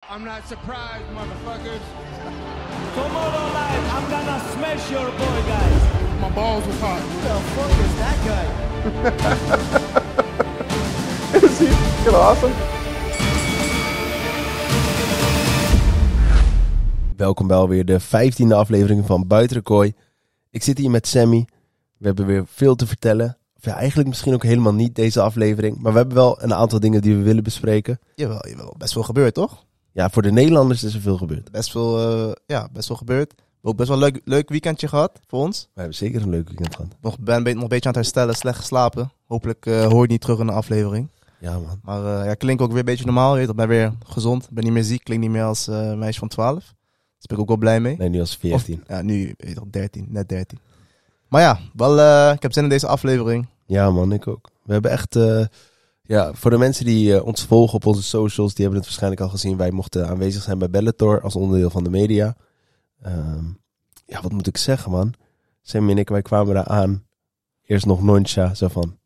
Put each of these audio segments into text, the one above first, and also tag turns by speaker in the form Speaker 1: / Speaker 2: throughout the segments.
Speaker 1: I'm not surprised, motherfuckers.
Speaker 2: Tomorrow night, I'm gonna smash your boy, guys.
Speaker 1: My balls was hot.
Speaker 2: Who the fuck is that guy?
Speaker 3: Is he fucking awesome? Welkom bij alweer de vijftiende aflevering van Buiten de Kooi. Ik zit hier met Sammy. We hebben weer veel te vertellen. Of ja, eigenlijk misschien ook helemaal niet deze aflevering. Maar we hebben wel een aantal dingen die we willen bespreken.
Speaker 4: Jawel, jawel. Best veel gebeurd, toch?
Speaker 3: Ja, voor de Nederlanders is er veel gebeurd.
Speaker 4: Best veel, eh, ja, best veel gebeurd. We hebben ook best wel een leuk, leuk weekendje gehad voor ons.
Speaker 3: We hebben zeker een leuk weekend gehad.
Speaker 4: Nog ben ben nog een beetje aan het herstellen, slecht geslapen. Hopelijk eh, hoor je het niet terug in de aflevering.
Speaker 3: Ja, man.
Speaker 4: Maar eh, ja, klink ook weer een beetje normaal. Je weet, ik ben weer gezond. Ben niet meer ziek. Klink niet meer als eh, meisje van 12. Daar ben ik ook wel blij mee.
Speaker 3: Nee, nu als 14.
Speaker 4: Of- ja, nu weet je toch, 13. Net 13. Maar ja, wel, eh, ik heb zin in deze aflevering.
Speaker 3: Ja, man, ik ook. We hebben echt. eh, ja, voor de mensen die eh, ons volgen op onze socials, die hebben het waarschijnlijk al gezien. Wij mochten aanwezig zijn bij Bellator als onderdeel van de media. Ehm, ja, wat moet ik zeggen, man? Sam en ik, wij kwamen daar aan. Eerst nog Noncha, zo van.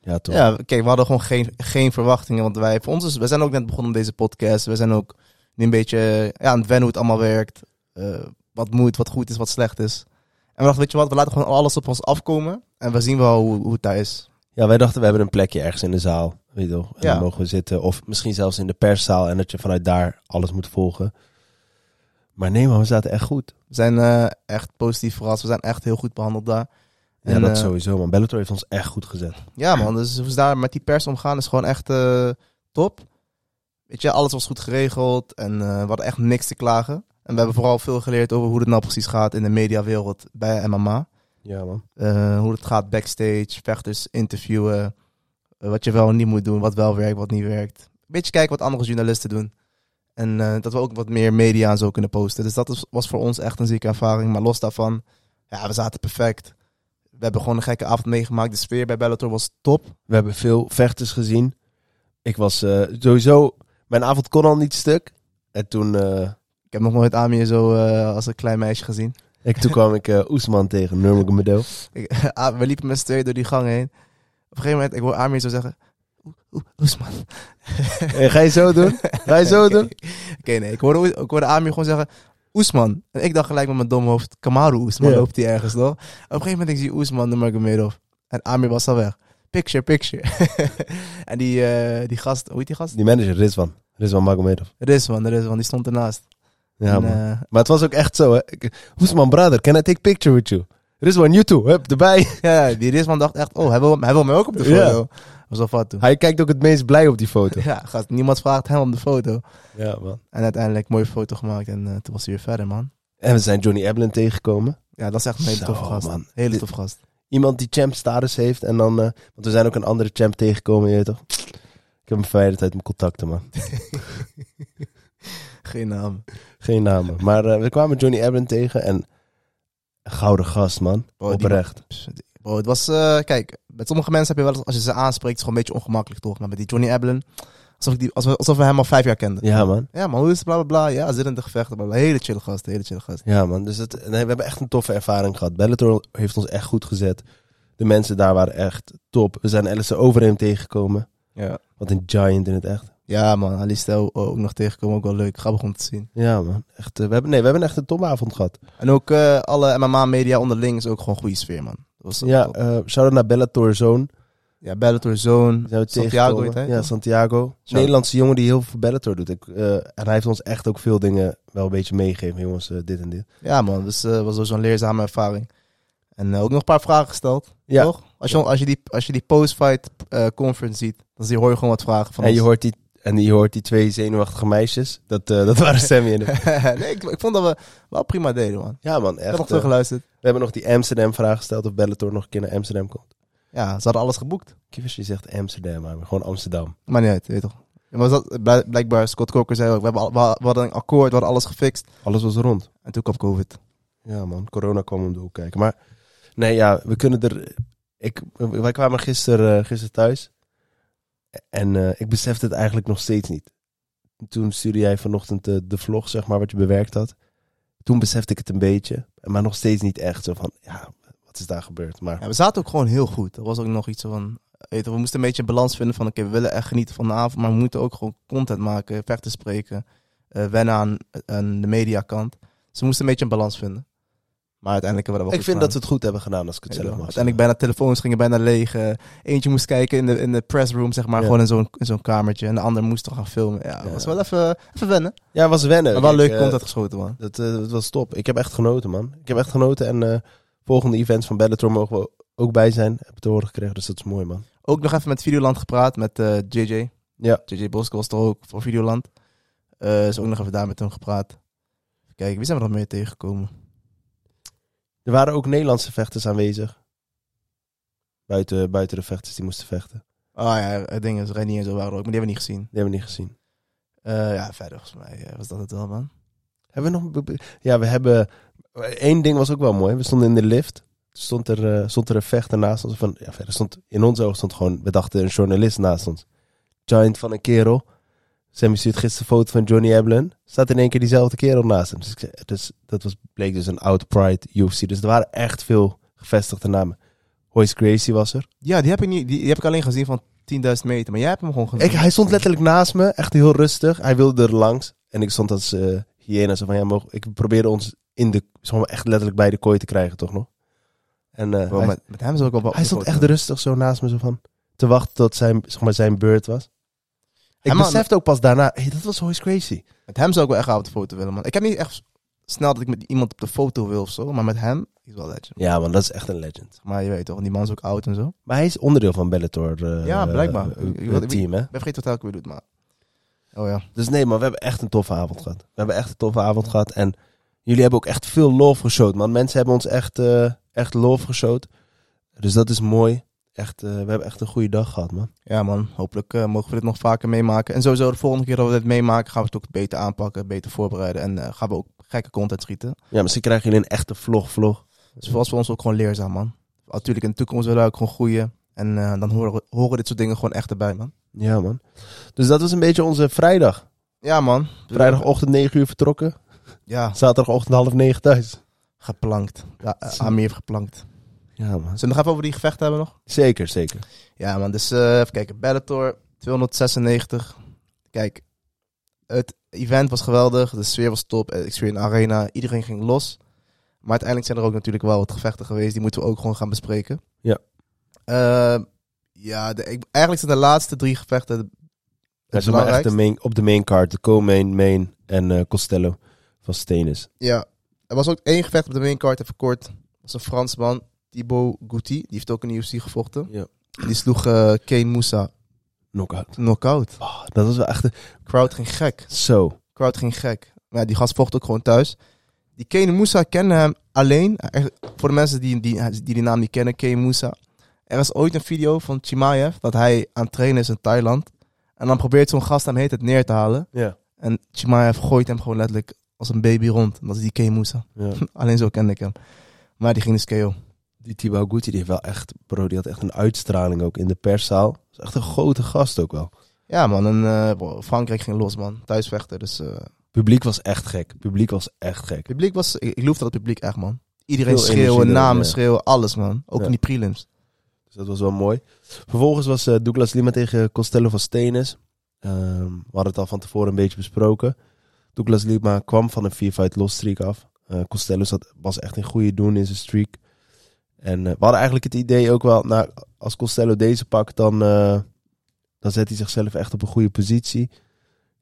Speaker 3: Ja, toch?
Speaker 4: Ja, kijk, we hadden gewoon geen, geen verwachtingen. Want wij, voor ons is, we zijn ook net begonnen met deze podcast. We zijn ook nu een beetje ja, aan het wennen hoe het allemaal werkt. Eh, wat moet, wat goed is, wat slecht is. En we dachten, weet je wat, we laten gewoon alles op ons afkomen. En we zien wel hoe, hoe het daar is.
Speaker 3: Ja, wij dachten, we hebben een plekje ergens in de zaal. Weet je wel, en
Speaker 4: Ja.
Speaker 3: dan mogen we zitten. Of misschien zelfs in de perszaal en dat je vanuit daar alles moet volgen. Maar nee, man, we zaten echt goed.
Speaker 4: We zijn eh, echt positief verrast. We zijn echt heel goed behandeld daar.
Speaker 3: Ja,
Speaker 4: En,
Speaker 3: dat
Speaker 4: eh,
Speaker 3: sowieso, man. Bellator heeft ons echt goed gezet.
Speaker 4: Ja man, dus hoe ze daar met die pers omgaan is gewoon echt eh, top. Weet je, alles was goed geregeld en eh, we hadden echt niks te klagen. En we hebben vooral veel geleerd over hoe het nou precies gaat in de mediawereld bij MMA.
Speaker 3: Ja, man.
Speaker 4: Eh, hoe het gaat backstage, vechters interviewen. eh, wat je wel en niet moet doen, wat wel werkt, wat niet werkt. Een beetje kijken wat andere journalisten doen. En eh, dat we ook wat meer media en zo kunnen posten. Dus dat is- was voor ons echt een zieke ervaring. Maar los daarvan, ja, we zaten perfect. We hebben gewoon een gekke avond meegemaakt. De sfeer bij Bellator was top.
Speaker 3: We hebben veel vechters gezien. Ik was eh, sowieso... Mijn avond kon al niet stuk. En toen, eh,
Speaker 4: Ik heb nog nooit Amir zo eh, als een klein meisje gezien.
Speaker 3: ik, toen kwam ik eh, Oesman tegen, Nurmagomedov.
Speaker 4: Ik- Ah, we liepen met z'n tweeën door die gang heen. Op een gegeven moment, ik hoor Amir zo zeggen... "Oe- oe- Oesman.
Speaker 3: Hey, Eh, ga je zo doen? Ga je zo doen?
Speaker 4: Oké, nee. Ik hoorde, Oes- ik hoorde Amir gewoon zeggen... Oesman. En ik dacht gelijk met mijn dom hoofd... Kamaru Oesman
Speaker 3: Ja.
Speaker 4: loopt hij ergens, toch? Op een gegeven moment ik zie Oesman de Magomedov. En Amir was al weg. Picture, picture. en die, eh, die gast... Hoe heet die gast?
Speaker 3: Die manager, Rizwan. Rizwan Magomedov.
Speaker 4: Rizwan, Rizwan. Die stond ernaast.
Speaker 3: Ja,
Speaker 4: En,
Speaker 3: man.
Speaker 4: eh,
Speaker 3: Maar het was ook echt zo, hè. Ik- Oesman, brother, can I take picture with you? Rizwan, you too. Hup, erbij.
Speaker 4: ja, ja, die Rizwan dacht echt... Oh, hij wil, hij wil mij ook op de
Speaker 3: Ja.
Speaker 4: foto. Was al fout toen.
Speaker 3: Hij kijkt ook het meest blij op die foto.
Speaker 4: Ja, gast, niemand vraagt hem om de foto.
Speaker 3: Ja, man.
Speaker 4: En uiteindelijk mooie foto gemaakt en eh, toen was hij weer verder, man.
Speaker 3: En we zijn Johnny Eblin tegengekomen.
Speaker 4: Ja, dat is echt een hele
Speaker 3: Zo,
Speaker 4: toffe gast.
Speaker 3: man.
Speaker 4: Hele
Speaker 3: Dit-
Speaker 4: toffe gast.
Speaker 3: Iemand die champ status heeft en dan... eh, want we zijn ook een andere champ tegengekomen, je weet toch? Ik heb hem verwijderd uit mijn contacten, man.
Speaker 4: Geen naam.
Speaker 3: Geen namen. Maar eh, we kwamen Johnny Ebbin tegen en een gouden gast, man.
Speaker 4: Oh, die
Speaker 3: Oprecht.
Speaker 4: Pff, die- Bro, het was, eh, kijk, met sommige mensen heb je wel eens, als je ze aanspreekt, is het gewoon een beetje ongemakkelijk toch? Maar met die Johnny Eblin, alsof, ik die, alsof, alsof we hem al vijf jaar kenden.
Speaker 3: Ja, man.
Speaker 4: Ja, maar hoe is het, bla bla bla, ja, zit in de gevechten, bla, bla. Hele chill gast, hele chill gast.
Speaker 3: Ja, man. Dus het, nee, we hebben echt een toffe ervaring gehad. Bellator heeft ons echt goed gezet. De mensen daar waren echt top. We zijn Alice Overeem tegengekomen.
Speaker 4: Ja.
Speaker 3: Wat een giant in het echt.
Speaker 4: Ja man, Ali Stel oh, ook nog tegenkomen, ook wel leuk, grappig om te zien.
Speaker 3: Ja, man. Echt, eh, we hebben, nee, we hebben echt een topavond gehad.
Speaker 4: En ook eh, alle MMA-media onderling is ook gewoon goede sfeer, man. Dat was,
Speaker 3: Ja, eh shout-out naar Bellator Zone.
Speaker 4: ja, Bellator Zone,
Speaker 3: Zijn we
Speaker 4: Santiago, heet
Speaker 3: tegengekomen.
Speaker 4: hij,
Speaker 3: Ja,
Speaker 4: toch?
Speaker 3: Santiago. Nederlandse jongen die heel veel voor Bellator doet. Ik, eh, en hij heeft ons echt ook veel dingen wel een beetje meegegeven. Jongens, eh, dit en dit.
Speaker 4: Ja, man, dus eh was sowieso een leerzame ervaring. En eh, ook nog een paar vragen gesteld.
Speaker 3: Ja.
Speaker 4: Toch? Als je, als je die, als je die post-fight eh, conference ziet, dan zie- hoor je gewoon wat vragen van
Speaker 3: en je
Speaker 4: ons.
Speaker 3: hoort die, en je hoort die twee zenuwachtige meisjes. Dat, eh, dat waren Sammy en ik.
Speaker 4: nee, ik, ik vond dat we wel prima deden, man.
Speaker 3: Ja man,
Speaker 4: Ik heb nog
Speaker 3: echt. eh,
Speaker 4: teruggeluisterd.
Speaker 3: we hebben nog die Amsterdam vraag gesteld of Bellator nog een keer naar Amsterdam komt.
Speaker 4: Ja, ze hadden alles geboekt.
Speaker 3: Kievers die zegt Amsterdam, maar gewoon Amsterdam.
Speaker 4: Maar niet uit, weet je toch. Maar dat, bl- blijkbaar, Scott Coker zei ook, we, hebben al- we ha- we hadden een akkoord, we hadden alles gefixt.
Speaker 3: Alles was rond.
Speaker 4: En toen kwam COVID.
Speaker 3: Ja man, corona kwam om de hoek kijken. Maar nee ja, we kunnen er... Ik, wij kwamen gisteren gister thuis. En eh, ik besefte het eigenlijk nog steeds niet. Toen stuurde jij vanochtend eh, de, de vlog, zeg maar, wat je bewerkt had. Toen besefte ik het een beetje. Maar nog steeds niet echt. Zo van, ja, wat is daar gebeurd? Maar
Speaker 4: Ja, we zaten ook gewoon heel goed. Er was ook nog iets van... Weet je, toch, we moesten een beetje een balans vinden van... Oké, we willen echt genieten van de avond... maar we moeten ook gewoon content maken, vechten spreken. eh, wennen aan, aan de mediakant. Ze moesten een beetje een balans vinden. Maar uiteindelijk hebben we dat wel
Speaker 3: Ik vind dat ze het goed hebben gedaan, als ik het
Speaker 4: het
Speaker 3: zelf mag
Speaker 4: Uiteindelijk bijna telefoons gingen bijna leeg. eh, eentje moest kijken in de, in de pressroom, zeg maar,
Speaker 3: Ja.
Speaker 4: gewoon in zo'n, in zo'n kamertje. En de ander moest toch gaan filmen. Ja,
Speaker 3: Ja.
Speaker 4: was wel even, even wennen.
Speaker 3: zeggen. Ja, was wennen.
Speaker 4: Maar wel
Speaker 3: Kijk,
Speaker 4: leuk
Speaker 3: eh,
Speaker 4: content geschoten, man.
Speaker 3: Dat, eh, dat was top. Ik heb echt genoten, man. Ik heb echt genoten. En eh, volgende events van Bellator mogen we ook bij zijn. Heb ik te horen gekregen, dus dat is mooi, man.
Speaker 4: Ook nog even met Videoland gepraat, met eh, JJ.
Speaker 3: Ja.
Speaker 4: JJ Bosko was er ook voor Videoland. Eh is ook nog even daar met hem gepraat. Kijk, wie zijn we nog meer tegengekomen?
Speaker 3: Er waren ook Nederlandse vechters aanwezig. Buiten, buiten de vechters die moesten vechten.
Speaker 4: Ah ja, eh, dingen, als Rennie en zo waren er ook, maar die hebben we niet gezien.
Speaker 3: Die hebben we niet gezien.
Speaker 4: Eh, ja, verder volgens mij eh, was dat het wel, man.
Speaker 3: Hebben we nog... Ja, we hebben... Eén ding was ook wel mooi. We stonden in de lift. Stond er, eh, stond er een vechter naast ons. Van, ja, verder stond, in ons oog stond gewoon... We dachten een journalist naast ons. Giant van een kerel. Sammy stuurt gisteren een foto van Johnny Eblen. Staat in één keer diezelfde kerel naast hem. Dus, ik zei- dus dat was, bleek dus een oud Pride UFC. Dus er waren echt veel gevestigde namen. Hoyce Gracie was er.
Speaker 4: Ja, die heb ik, niet, die, die heb ik alleen gezien van 10.000 meter, maar jij hebt hem gewoon gezien.
Speaker 3: Ik, hij stond letterlijk naast me, echt heel rustig. Hij wilde er langs. En ik stond als eh hyena zo van, ja, mogen, ik probeerde ons in de, zeg maar, echt letterlijk bij de kooi te krijgen, toch nog? En eh,
Speaker 4: Wow,
Speaker 3: hij,
Speaker 4: met, met hem is ook wel wat
Speaker 3: hij stond
Speaker 4: foto.
Speaker 3: echt rustig zo naast me, zo van, te wachten tot zijn, zeg maar, zijn beurt was. Ik
Speaker 4: Hij man-
Speaker 3: besefte ook pas daarna, hey, dat was Hoist Crazy.
Speaker 4: Met hem zou ik wel echt graag op de foto willen, man. Ik heb niet echt snel dat ik met iemand op de foto wil of zo, maar met hem is wel legend.
Speaker 3: Ja man, dat is echt een legend.
Speaker 4: Maar je weet toch, die man is ook oud en zo.
Speaker 3: Maar hij is onderdeel van Bellator eh,
Speaker 4: Ja, blijkbaar.
Speaker 3: eh, eh,
Speaker 4: Ik wil-
Speaker 3: team, hè?
Speaker 4: Ik ben vergeten wat elke weer doet, maar... Oh ja.
Speaker 3: Dus nee, maar we hebben echt een toffe avond gehad. We hebben echt een toffe avond gehad. En jullie hebben ook echt veel lof geshowt, man. Mensen hebben ons echt, eh, echt lof geshowt. Dus dat is mooi. Echt, eh, we hebben echt een goede dag gehad, man.
Speaker 4: Ja man, hopelijk eh, mogen we dit nog vaker meemaken. En sowieso de volgende keer dat we dit meemaken, gaan we het ook beter aanpakken, beter voorbereiden. En eh, gaan we ook gekke content schieten.
Speaker 3: Ja, misschien krijgen jullie een echte vlog-vlog.
Speaker 4: Dus voor ons- voor ons ook gewoon leerzaam, man. Natuurlijk, in de toekomst willen we ook gewoon groeien. En eh, dan horen, we- horen dit soort dingen gewoon echt erbij, man.
Speaker 3: Ja, man. Dus dat was een beetje onze vrijdag.
Speaker 4: Ja man.
Speaker 3: Vrijdagochtend 9 uur vertrokken.
Speaker 4: Ja,
Speaker 3: Zaterdagochtend half 9 thuis.
Speaker 4: geplankt. Ja, eh, Amir heeft geplankt. Zullen
Speaker 3: Ja, man.
Speaker 4: we nog even over die gevechten hebben nog?
Speaker 3: Zeker, zeker.
Speaker 4: Ja, man. Dus eh, even kijken. Bellator 296. Kijk, het event was geweldig. De sfeer was top. Eh, Ik zweer in de arena. Iedereen ging los. Maar uiteindelijk zijn er ook natuurlijk wel wat gevechten geweest. Die moeten we ook gewoon gaan bespreken.
Speaker 3: Ja.
Speaker 4: Eh, ja, de, ik- eigenlijk zijn de laatste drie gevechten de-
Speaker 3: Dat is maar
Speaker 4: het
Speaker 3: echt de
Speaker 4: belangrijkste.
Speaker 3: main, op de main card. De co-main, main en eh, Costello van Stenis.
Speaker 4: Ja. Er was ook één gevecht op de maincard, even kort. Dat was een Fransman, Thibaut Gouty. Die heeft ook in de UFC gevochten.
Speaker 3: Ja.
Speaker 4: Die sloeg eh Kane Moussa
Speaker 3: Knockout.
Speaker 4: knock-out.
Speaker 3: Oh, dat was wel echt... een-
Speaker 4: Crowd ging gek.
Speaker 3: Zo.
Speaker 4: Crowd ging gek. Maar ja, die gast vocht ook gewoon thuis. Die Kane Moussa kende hem alleen. Echt, voor de mensen die die, die, die naam niet kennen, Kane Moussa. Er was ooit een video van Chimaev dat hij aan het trainen is in Thailand. En dan probeert zo'n gast hem heet het neer te halen.
Speaker 3: Ja.
Speaker 4: En Chimaev gooit hem gewoon letterlijk als een baby rond. En Dat is die Kane Moussa.
Speaker 3: ja.
Speaker 4: Alleen zo kende ik hem. Maar die ging dus KO.
Speaker 3: Die Thibaut Guti, die heeft wel echt, bro, die had echt een uitstraling ook in de perszaal. Dat is echt een grote gast ook wel.
Speaker 4: Ja man, en eh, bro, Frankrijk ging los man. Thuisvechten, dus... eh,
Speaker 3: Publiek was echt gek. Publiek was echt gek.
Speaker 4: Het publiek was... Ik, ik loefde dat publiek echt man. Iedereen
Speaker 3: Veel energie
Speaker 4: schreeuwen,
Speaker 3: erin,
Speaker 4: namen
Speaker 3: ja.
Speaker 4: schreeuwen, alles man. Ook
Speaker 3: Ja.
Speaker 4: in die prelims.
Speaker 3: Dus dat was wel mooi. Vervolgens was eh, Douglas Lima tegen Costello van Stenis. Ehm, we hadden het al van tevoren een beetje besproken. Douglas Lima kwam van een 4-fight loss streak af. Eh, Costello zat, was echt een goede doen in zijn streak. En eh, we hadden eigenlijk het idee ook wel, nou, als Costello deze pakt, dan, eh, dan zet hij zichzelf echt op een goede positie.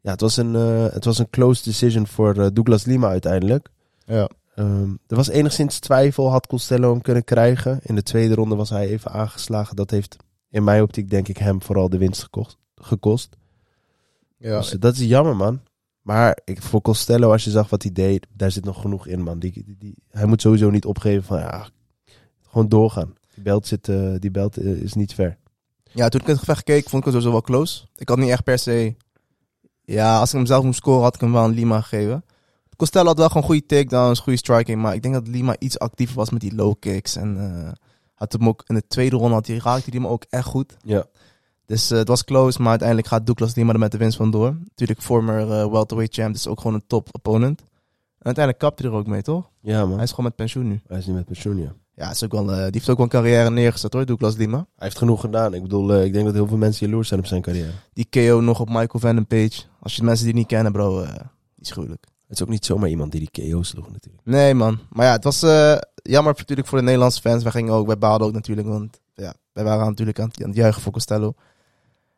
Speaker 3: Ja, het was een, eh, het was een close decision voor eh, Douglas Lima uiteindelijk.
Speaker 4: Ja.
Speaker 3: Ehm, er was enigszins twijfel, had Costello hem kunnen krijgen. In de tweede ronde was hij even aangeslagen. Dat heeft in mijn optiek, denk ik, hem vooral de winst gekocht, gekost.
Speaker 4: ja.
Speaker 3: dus dat is jammer, man. Maar ik, voor Costello, als je zag wat hij deed, daar zit nog genoeg in, man. Die, die, die- hij moet sowieso niet opgeven van, ja, gewoon doorgaan. Die belt, zit, eh, die belt eh, is niet ver.
Speaker 4: Ja, toen ik het gevecht keek, vond ik het sowieso wel close. Ik had niet echt per se... Ja, als ik hem zelf moest scoren, had ik hem wel een Lima gegeven. Costello had wel gewoon goede takedowns, goede striking. Maar ik denk dat Lima iets actiever was met die low kicks. En eh, had hem ook in de tweede ronde had hij, raakte hij hem ook echt goed.
Speaker 3: Ja.
Speaker 4: Dus eh, het was close, maar uiteindelijk gaat Douglas Lima er met de winst vandoor. Natuurlijk former eh, welterweight champ, dus ook gewoon een top opponent. En uiteindelijk kapt hij er ook mee, toch?
Speaker 3: Ja,
Speaker 4: Hij
Speaker 3: man.
Speaker 4: is gewoon met pensioen nu.
Speaker 3: Hij is niet met pensioen, ja.
Speaker 4: Ja, is ook wel, eh, die heeft ook wel een carrière neergezet hoor, Douglas Lima.
Speaker 3: Hij heeft genoeg gedaan. Ik bedoel, eh, ik denk dat heel veel mensen jaloers zijn op zijn carrière.
Speaker 4: Die KO nog op Michael Van den Page. Als je de mensen die niet kennen, bro. eh, Die is gruwelijk.
Speaker 3: Het is ook niet zomaar iemand die die KO sloeg natuurlijk.
Speaker 4: Nee, man. Maar ja, het was eh, jammer natuurlijk voor de Nederlandse fans. Wij gingen ook, wij baalden ook natuurlijk, want ja, wij waren natuurlijk aan, het- aan het juichen voor Costello.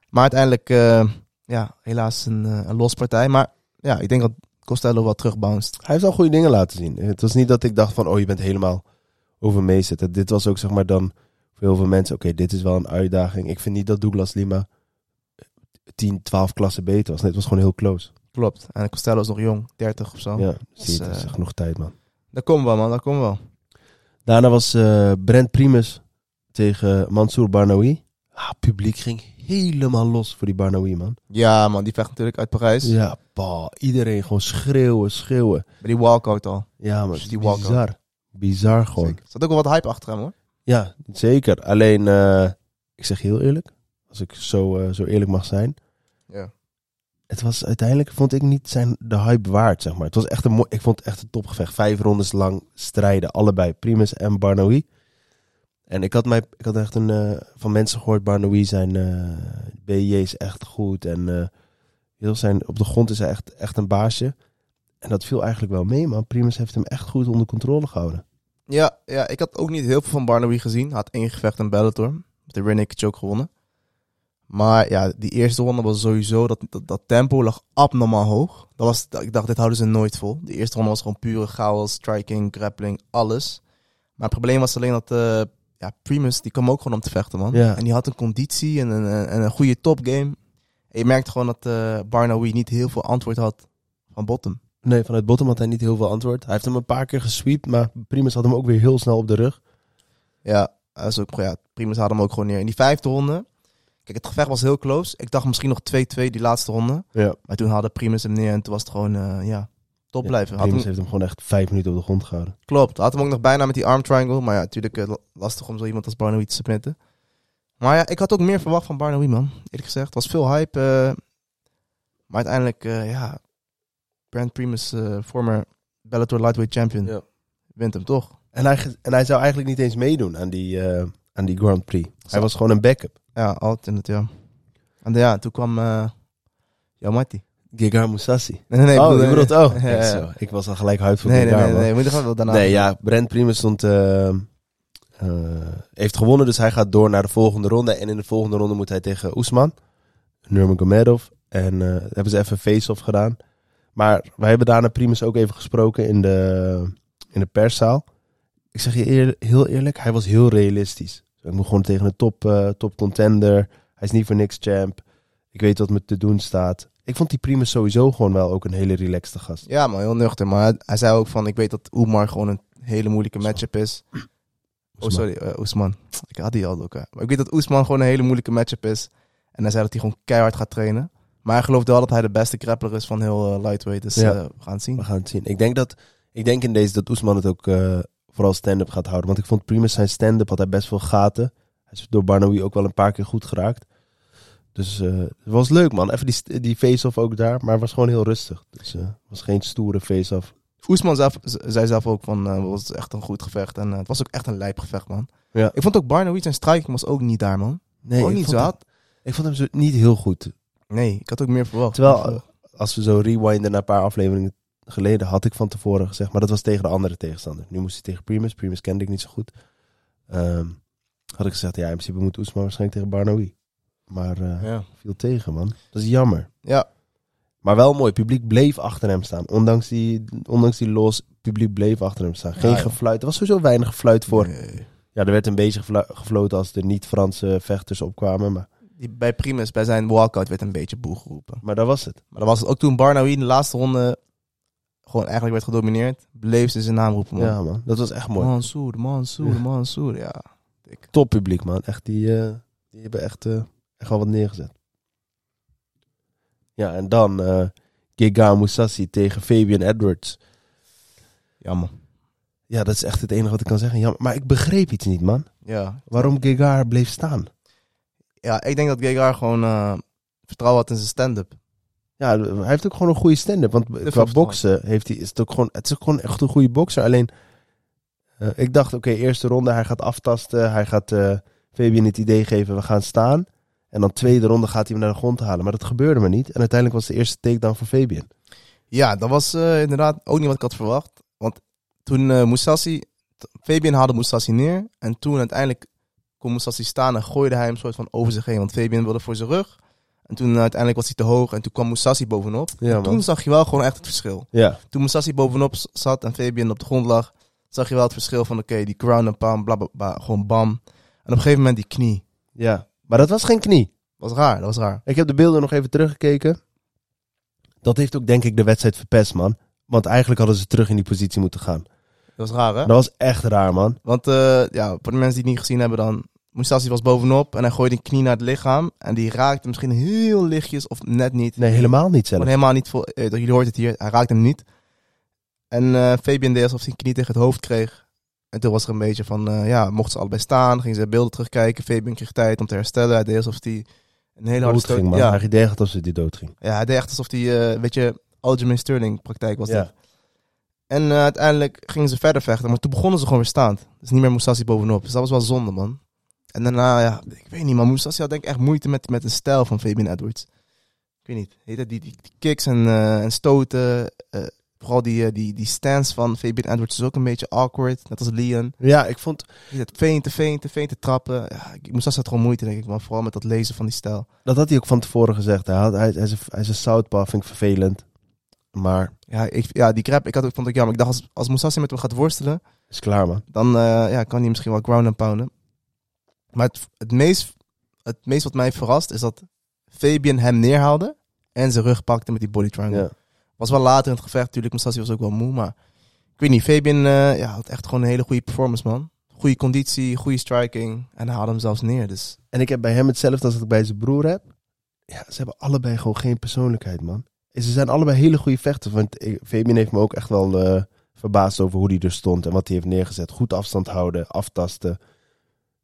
Speaker 4: Maar uiteindelijk, eh, ja, helaas een, eh, een los partij. Maar ja, ik denk dat Costello wel terugbounced.
Speaker 3: Hij heeft al goede dingen laten zien. Het was niet dat ik dacht van, oh, je bent helemaal overmeesterd. Dit was ook zeg maar dan voor heel veel mensen, oké, dit is wel een uitdaging. Ik vind niet dat Douglas Lima 10, 12 klassen beter was. Nee, het was gewoon heel close.
Speaker 4: Klopt. En Costello is nog jong, 30 of zo.
Speaker 3: Ja, zie je, het
Speaker 4: eh,
Speaker 3: Oh. is genoeg tijd, man.
Speaker 4: Dat komt wel, man, dat komt wel.
Speaker 3: Daarna was eh, Brent Primus tegen Mansour Barnawi. Ah, het publiek ging helemaal los voor die Barnawi, man.
Speaker 4: Ja, man, die vecht natuurlijk uit Parijs.
Speaker 3: Ja, pa, iedereen gewoon schreeuwen, schreeuwen.
Speaker 4: Maar die walkout al.
Speaker 3: Ja, maar
Speaker 4: Dus die walkout.
Speaker 3: bizar. Bizar gewoon.
Speaker 4: Zeker. Er zat ook wel wat hype achter hem, hoor.
Speaker 3: Ja, zeker. Alleen, eh, ik zeg heel eerlijk, als ik zo, eh, zo eerlijk mag zijn.
Speaker 4: Ja.
Speaker 3: Het was uiteindelijk, vond ik niet zijn de hype waard, zeg maar. Het was echt een mooi, ik vond het echt een topgevecht. Vijf rondes lang strijden, allebei, Primus en Barnawi. En ik had, mij, ik had echt een, eh, van mensen gehoord, Barnawi zijn eh BJ is echt goed. En eh, heel zijn, op de grond is hij echt, echt een baasje. En dat viel eigenlijk wel mee, man. Primus heeft hem echt goed onder controle gehouden.
Speaker 4: Ja, ja, ik had ook niet heel veel van Barnaby gezien. Hij had één gevecht in Bellator. Met de Rennick choke gewonnen. Maar ja, die eerste ronde was sowieso... Dat, dat, dat tempo lag abnormaal hoog. Dat was, dat- ik dacht, dit houden ze nooit vol. De eerste ronde was gewoon pure chaos, striking, grappling, alles. Maar het probleem was alleen dat... eh, ja, Primus, die kwam ook gewoon om te vechten, man.
Speaker 3: Ja.
Speaker 4: En die had een conditie en een, en- en een goede topgame. En je merkte gewoon dat eh Barnaby niet heel veel antwoord had van Bottom.
Speaker 3: Nee, vanuit bottom had hij niet heel veel antwoord. Hij heeft hem een paar keer gesweept, maar Primus had hem ook weer heel snel op de rug.
Speaker 4: Ja, dat is ook, ja, Primus had hem ook gewoon neer. In die vijfde ronde, kijk, het gevecht was heel close. Ik dacht misschien nog 2-2 die laatste ronde.
Speaker 3: Ja.
Speaker 4: Maar toen haalde Primus hem neer en toen was het gewoon, eh, ja, top blijven. Had
Speaker 3: Primus
Speaker 4: hem,
Speaker 3: heeft hem gewoon echt vijf minuten op de grond gehouden.
Speaker 4: klopt, had hem ook nog bijna met die arm triangle. Maar ja, natuurlijk eh, la- lastig om zo iemand als Barnaby te submitten. Maar ja, ik had ook meer verwacht van Barnaby, man. Eerlijk gezegd, het was veel hype. eh, maar uiteindelijk, eh, ja, Brand Primus, eh, former Bellator lightweight champion,
Speaker 3: Ja.
Speaker 4: wint hem toch.
Speaker 3: En hij, ge- en hij zou eigenlijk niet eens meedoen aan die, eh, aan die Grand Prix. Hij was gewoon een backup.
Speaker 4: Ja, alternate, ja. En ja, toen kwam eh Yamati.
Speaker 3: Gigar Musasi.
Speaker 4: Nee, nee, nee. ik
Speaker 3: oh,
Speaker 4: bedoel-
Speaker 3: je bedoelt, oh.
Speaker 4: Ja,
Speaker 3: Kijk
Speaker 4: ja.
Speaker 3: zo. Ik was al gelijk huid voor
Speaker 4: Nee, nee,
Speaker 3: Gigar,
Speaker 4: nee,
Speaker 3: man.
Speaker 4: nee. Moet je gewoon wel daarna.
Speaker 3: Nee, ja, Brent Primus stond, eh, eh, heeft gewonnen, dus hij gaat door naar de volgende ronde. En in de volgende ronde moet hij tegen Oesman, Nurmagomedov. En eh, hebben ze even een face-off gedaan. Maar wij hebben daarna Primus ook even gesproken in de, in de perszaal. Ik zeg je eer- heel eerlijk, hij was heel realistisch. Ik moet gewoon tegen een top, eh, top contender. Hij is niet voor niks champ. Ik weet wat me te doen staat. Ik vond die Primus sowieso gewoon wel ook een hele relaxte gast.
Speaker 4: Ja, man, heel nuchter. Maar hij, hij zei ook van, ik weet dat Oemar gewoon een hele moeilijke matchup is. Oh,
Speaker 3: Oesman.
Speaker 4: sorry, eh, Oesman. Ik had die al ook. hè. Maar ik weet dat Oesman gewoon een hele moeilijke matchup is. En hij zei dat hij gewoon keihard gaat trainen. Maar hij gelooft wel dat hij de beste grappler is van heel eh, lightweight. Dus
Speaker 3: Ja.
Speaker 4: eh, we gaan het zien.
Speaker 3: We gaan het zien. Ik denk, dat, ik denk in deze dat Oesman het ook eh, vooral stand-up gaat houden. Want ik vond Primus zijn stand-up had hij best veel gaten. Hij is door Barnawi ook wel een paar keer goed geraakt. Dus eh, het was leuk man. Even die, st- die face-off ook daar. Maar het was gewoon heel rustig. Dus eh, het was geen stoere face-off.
Speaker 4: Oesman zelf, z- zei zelf ook van, eh, het was echt een goed gevecht. En eh, het was ook echt een lijp gevecht, man.
Speaker 3: Ja.
Speaker 4: Ik vond ook Barnaby zijn striking was ook niet daar, man.
Speaker 3: Nee,
Speaker 4: ook niet zo hard.
Speaker 3: ik vond hem zo niet heel goed.
Speaker 4: Nee, ik had ook meer verwacht.
Speaker 3: Terwijl eh, als we zo rewinden naar een paar afleveringen geleden, had ik van tevoren gezegd, maar dat was tegen de andere tegenstander. Nu moest hij tegen Primus. Primus kende ik niet zo goed. Ehm, had ik gezegd, ja, in principe moet Oesman waarschijnlijk tegen Barnawi. Maar eh,
Speaker 4: ja.
Speaker 3: viel tegen, man. Dat is jammer.
Speaker 4: Ja.
Speaker 3: Maar wel mooi. Publiek bleef achter hem staan. Ondanks die, ondanks die los, publiek bleef achter hem staan. Geen
Speaker 4: Ja, joh.
Speaker 3: gefluit. Er was sowieso weinig gefluit voor.
Speaker 4: Nee.
Speaker 3: Ja, er werd een beetje geflu- gefloten als de niet-Franse vechters opkwamen. Maar,
Speaker 4: Die, bij Primus, bij zijn walkout, werd een beetje boel geroepen.
Speaker 3: maar dat was het.
Speaker 4: Maar dat was het ook toen Barnaby in de laatste ronde gewoon eigenlijk werd gedomineerd. Bleef ze zijn naam roepen, man.
Speaker 3: Ja, man. Dat was echt mooi.
Speaker 4: Mansoer, Mansoer,
Speaker 3: Ja.
Speaker 4: Mansoer, ja.
Speaker 3: top publiek, man. Echt, die, eh, die hebben echt, eh, echt wel wat neergezet. Ja, en dan eh Giga Moussassi tegen Fabian Edwards.
Speaker 4: Jammer.
Speaker 3: Ja, dat is echt het enige wat ik kan zeggen. Jammer. Maar ik begreep iets niet, man.
Speaker 4: Ja.
Speaker 3: Waarom Giga bleef staan.
Speaker 4: ja, ik denk dat Gegar gewoon eh, vertrouwen had in zijn stand-up.
Speaker 3: Ja, hij heeft ook gewoon een goede stand-up. Want qua
Speaker 4: verstand.
Speaker 3: boksen heeft hij, is het, ook gewoon, het is ook gewoon echt een goede bokser. Alleen, eh, ik dacht, oké, eerste ronde, hij gaat aftasten. Hij gaat eh Fabian het idee geven, we gaan staan. En dan tweede ronde gaat hij hem naar de grond halen. Maar dat gebeurde maar niet. En uiteindelijk was de eerste takedown voor Fabian.
Speaker 4: Ja, dat was eh, inderdaad ook niet wat ik had verwacht. Want toen eh Moussassi... t- Fabian haalde Moussassi neer. En toen uiteindelijk kon Moussassi staan en gooide hij hem soort van over zich heen. Want Fabian wilde voor zijn rug. En toen eh, uiteindelijk was hij te hoog. En toen kwam Moussassi bovenop.
Speaker 3: Ja,
Speaker 4: en
Speaker 3: man.
Speaker 4: toen zag je wel gewoon echt het verschil.
Speaker 3: Ja,
Speaker 4: Toen Moussassi bovenop s- zat en Fabian op de grond lag... zag je wel het verschil van oké, die crown en palm, bla, bla, bla, Gewoon bam. En op een gegeven moment die knie.
Speaker 3: ja. Maar dat was geen knie.
Speaker 4: was raar, dat was raar.
Speaker 3: Ik heb de beelden nog even teruggekeken. Dat heeft ook denk ik de wedstrijd verpest, man. Want eigenlijk hadden ze terug in die positie moeten gaan.
Speaker 4: Dat was raar, hè?
Speaker 3: Dat was echt raar, man.
Speaker 4: Want eh, ja, voor de mensen die het niet gezien hebben dan... Moustassi was bovenop en hij gooide een knie naar het lichaam. En die raakte misschien heel lichtjes of net niet.
Speaker 3: Nee, helemaal niet
Speaker 4: Gewoon
Speaker 3: zelf.
Speaker 4: helemaal niet vol. eh, jullie hoort het hier, hij raakte hem niet. En eh, Fabian deed alsof hij een knie tegen het hoofd kreeg. En toen was er een beetje van, eh, ja, mochten ze allebei staan. Gingen ze beelden terugkijken. Fabian kreeg tijd om te herstellen. Hij deed alsof hij een hele harde
Speaker 3: Dood
Speaker 4: stoot...
Speaker 3: ging, man.
Speaker 4: Ja,
Speaker 3: Hij deed echt alsof hij dood ging.
Speaker 4: ja, hij deed echt alsof hij, eh, weet je, Aljamain Sterling praktijk was
Speaker 3: Ja.
Speaker 4: dat. En eh, uiteindelijk gingen ze verder vechten, maar toen begonnen ze gewoon weer staand. Dus niet meer Moussassi bovenop. Dus dat was wel zonde, man. En daarna, ja, ik weet niet, maar Moussassi had denk ik echt moeite met, met de stijl van Fabian Edwards. Ik weet niet, heet dat die, die, die kicks en, eh, en stoten. eh, vooral die, eh, die, die stance van Fabian Edwards is ook een beetje awkward, net als Leon.
Speaker 3: Ja, ik vond...
Speaker 4: Die zat feinte, feinte, feinte trappen. Ja, ik- Moussassi had gewoon moeite, denk ik, man. Vooral met dat lezen van die stijl.
Speaker 3: Dat had hij ook van tevoren gezegd. Hij, had, hij, hij, is, een- hij is een southpaw, vind ik vervelend. Maar
Speaker 4: Ja, ik, ja die grab, ik had ook, vond ik jammer. Ik dacht, als, als Moussassi met hem gaat worstelen,
Speaker 3: is klaar, man.
Speaker 4: dan eh, ja, kan hij misschien wel ground and pounden. Maar het, het, meest, het meest wat mij verrast is dat Fabian hem neerhaalde en zijn rug pakte met die body triangle.
Speaker 3: Ja.
Speaker 4: Was wel later in het gevecht, natuurlijk, Moussassi was ook wel moe, maar ik weet niet, Fabian eh, ja, had echt gewoon een hele goede performance, man. Goede conditie, goede striking en hij haalde hem zelfs neer, dus
Speaker 3: En ik heb bij hem hetzelfde als dat ik bij zijn broer heb. Ja, ze hebben allebei gewoon geen persoonlijkheid, man. En ze zijn allebei hele goede vechters. Want ik- Fabian heeft me ook echt wel eh, verbaasd over hoe hij er stond en wat hij heeft neergezet. Goed afstand houden, aftasten.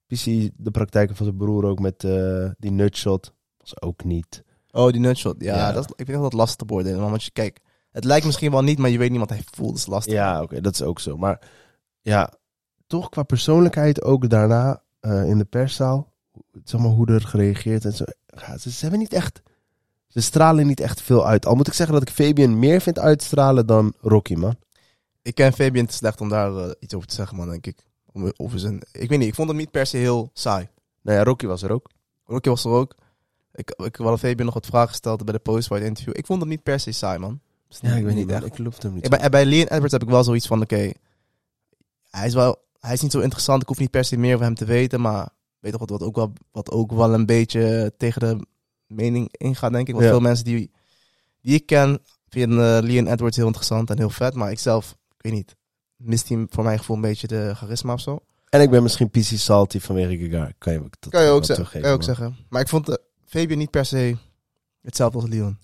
Speaker 3: Precies de praktijken van zijn broer ook met eh, die nutshot. Was ook niet.
Speaker 4: Oh, die nutshot. Ja,
Speaker 3: Ja.
Speaker 4: Dat is, ik vind dat dat lastig te beoordelen. man. Want je, kijk, het lijkt misschien wel niet, maar je weet niet wat hij voelt. Dat is lastig.
Speaker 3: Ja, oké, dat is ook zo. Maar ja, toch qua persoonlijkheid ook daarna eh, in de perszaal. Zeg maar hoe er gereageerd en zo. Ja, ze, ze hebben niet echt... Ze stralen niet echt veel uit. Al moet ik zeggen dat ik Fabian meer vind uitstralen dan Rocky, man.
Speaker 4: Ik ken Fabian te slecht om daar eh, iets over te zeggen, man, denk ik. Om, over zijn, ik weet niet, ik vond hem niet per se heel saai.
Speaker 3: Nou ja, Rocky was er ook.
Speaker 4: Rocky was er ook. Ik, ik had Fabian nog wat vragen gesteld bij de post bij het interview. Ik vond hem niet per se saai, man. Dus
Speaker 3: man. Ik loef hem niet.
Speaker 4: Ik- Bij, bij Leon Edwards heb ik wel zoiets van, oké, hij is wel, hij is niet zo interessant. Ik hoef niet per se meer van hem te weten, maar weet toch wat, wat, ook wel, wat ook wel een beetje tegen de mening ingaat, denk ik. Want
Speaker 3: Ja.
Speaker 4: veel mensen die, die ik ken vinden eh, Leon Edwards heel interessant en heel vet, maar ik zelf, ik weet niet, mist hij voor mijn gevoel een beetje de charisma of zo.
Speaker 3: En ik ben misschien PC salty vanwege Gagar. Kan je ook, dat
Speaker 4: Kan je
Speaker 3: wel
Speaker 4: ook, zeggen,
Speaker 3: toegeven,
Speaker 4: kan je ook
Speaker 3: man.
Speaker 4: zeggen. Maar ik vond eh, Fabian niet per se hetzelfde als Leon.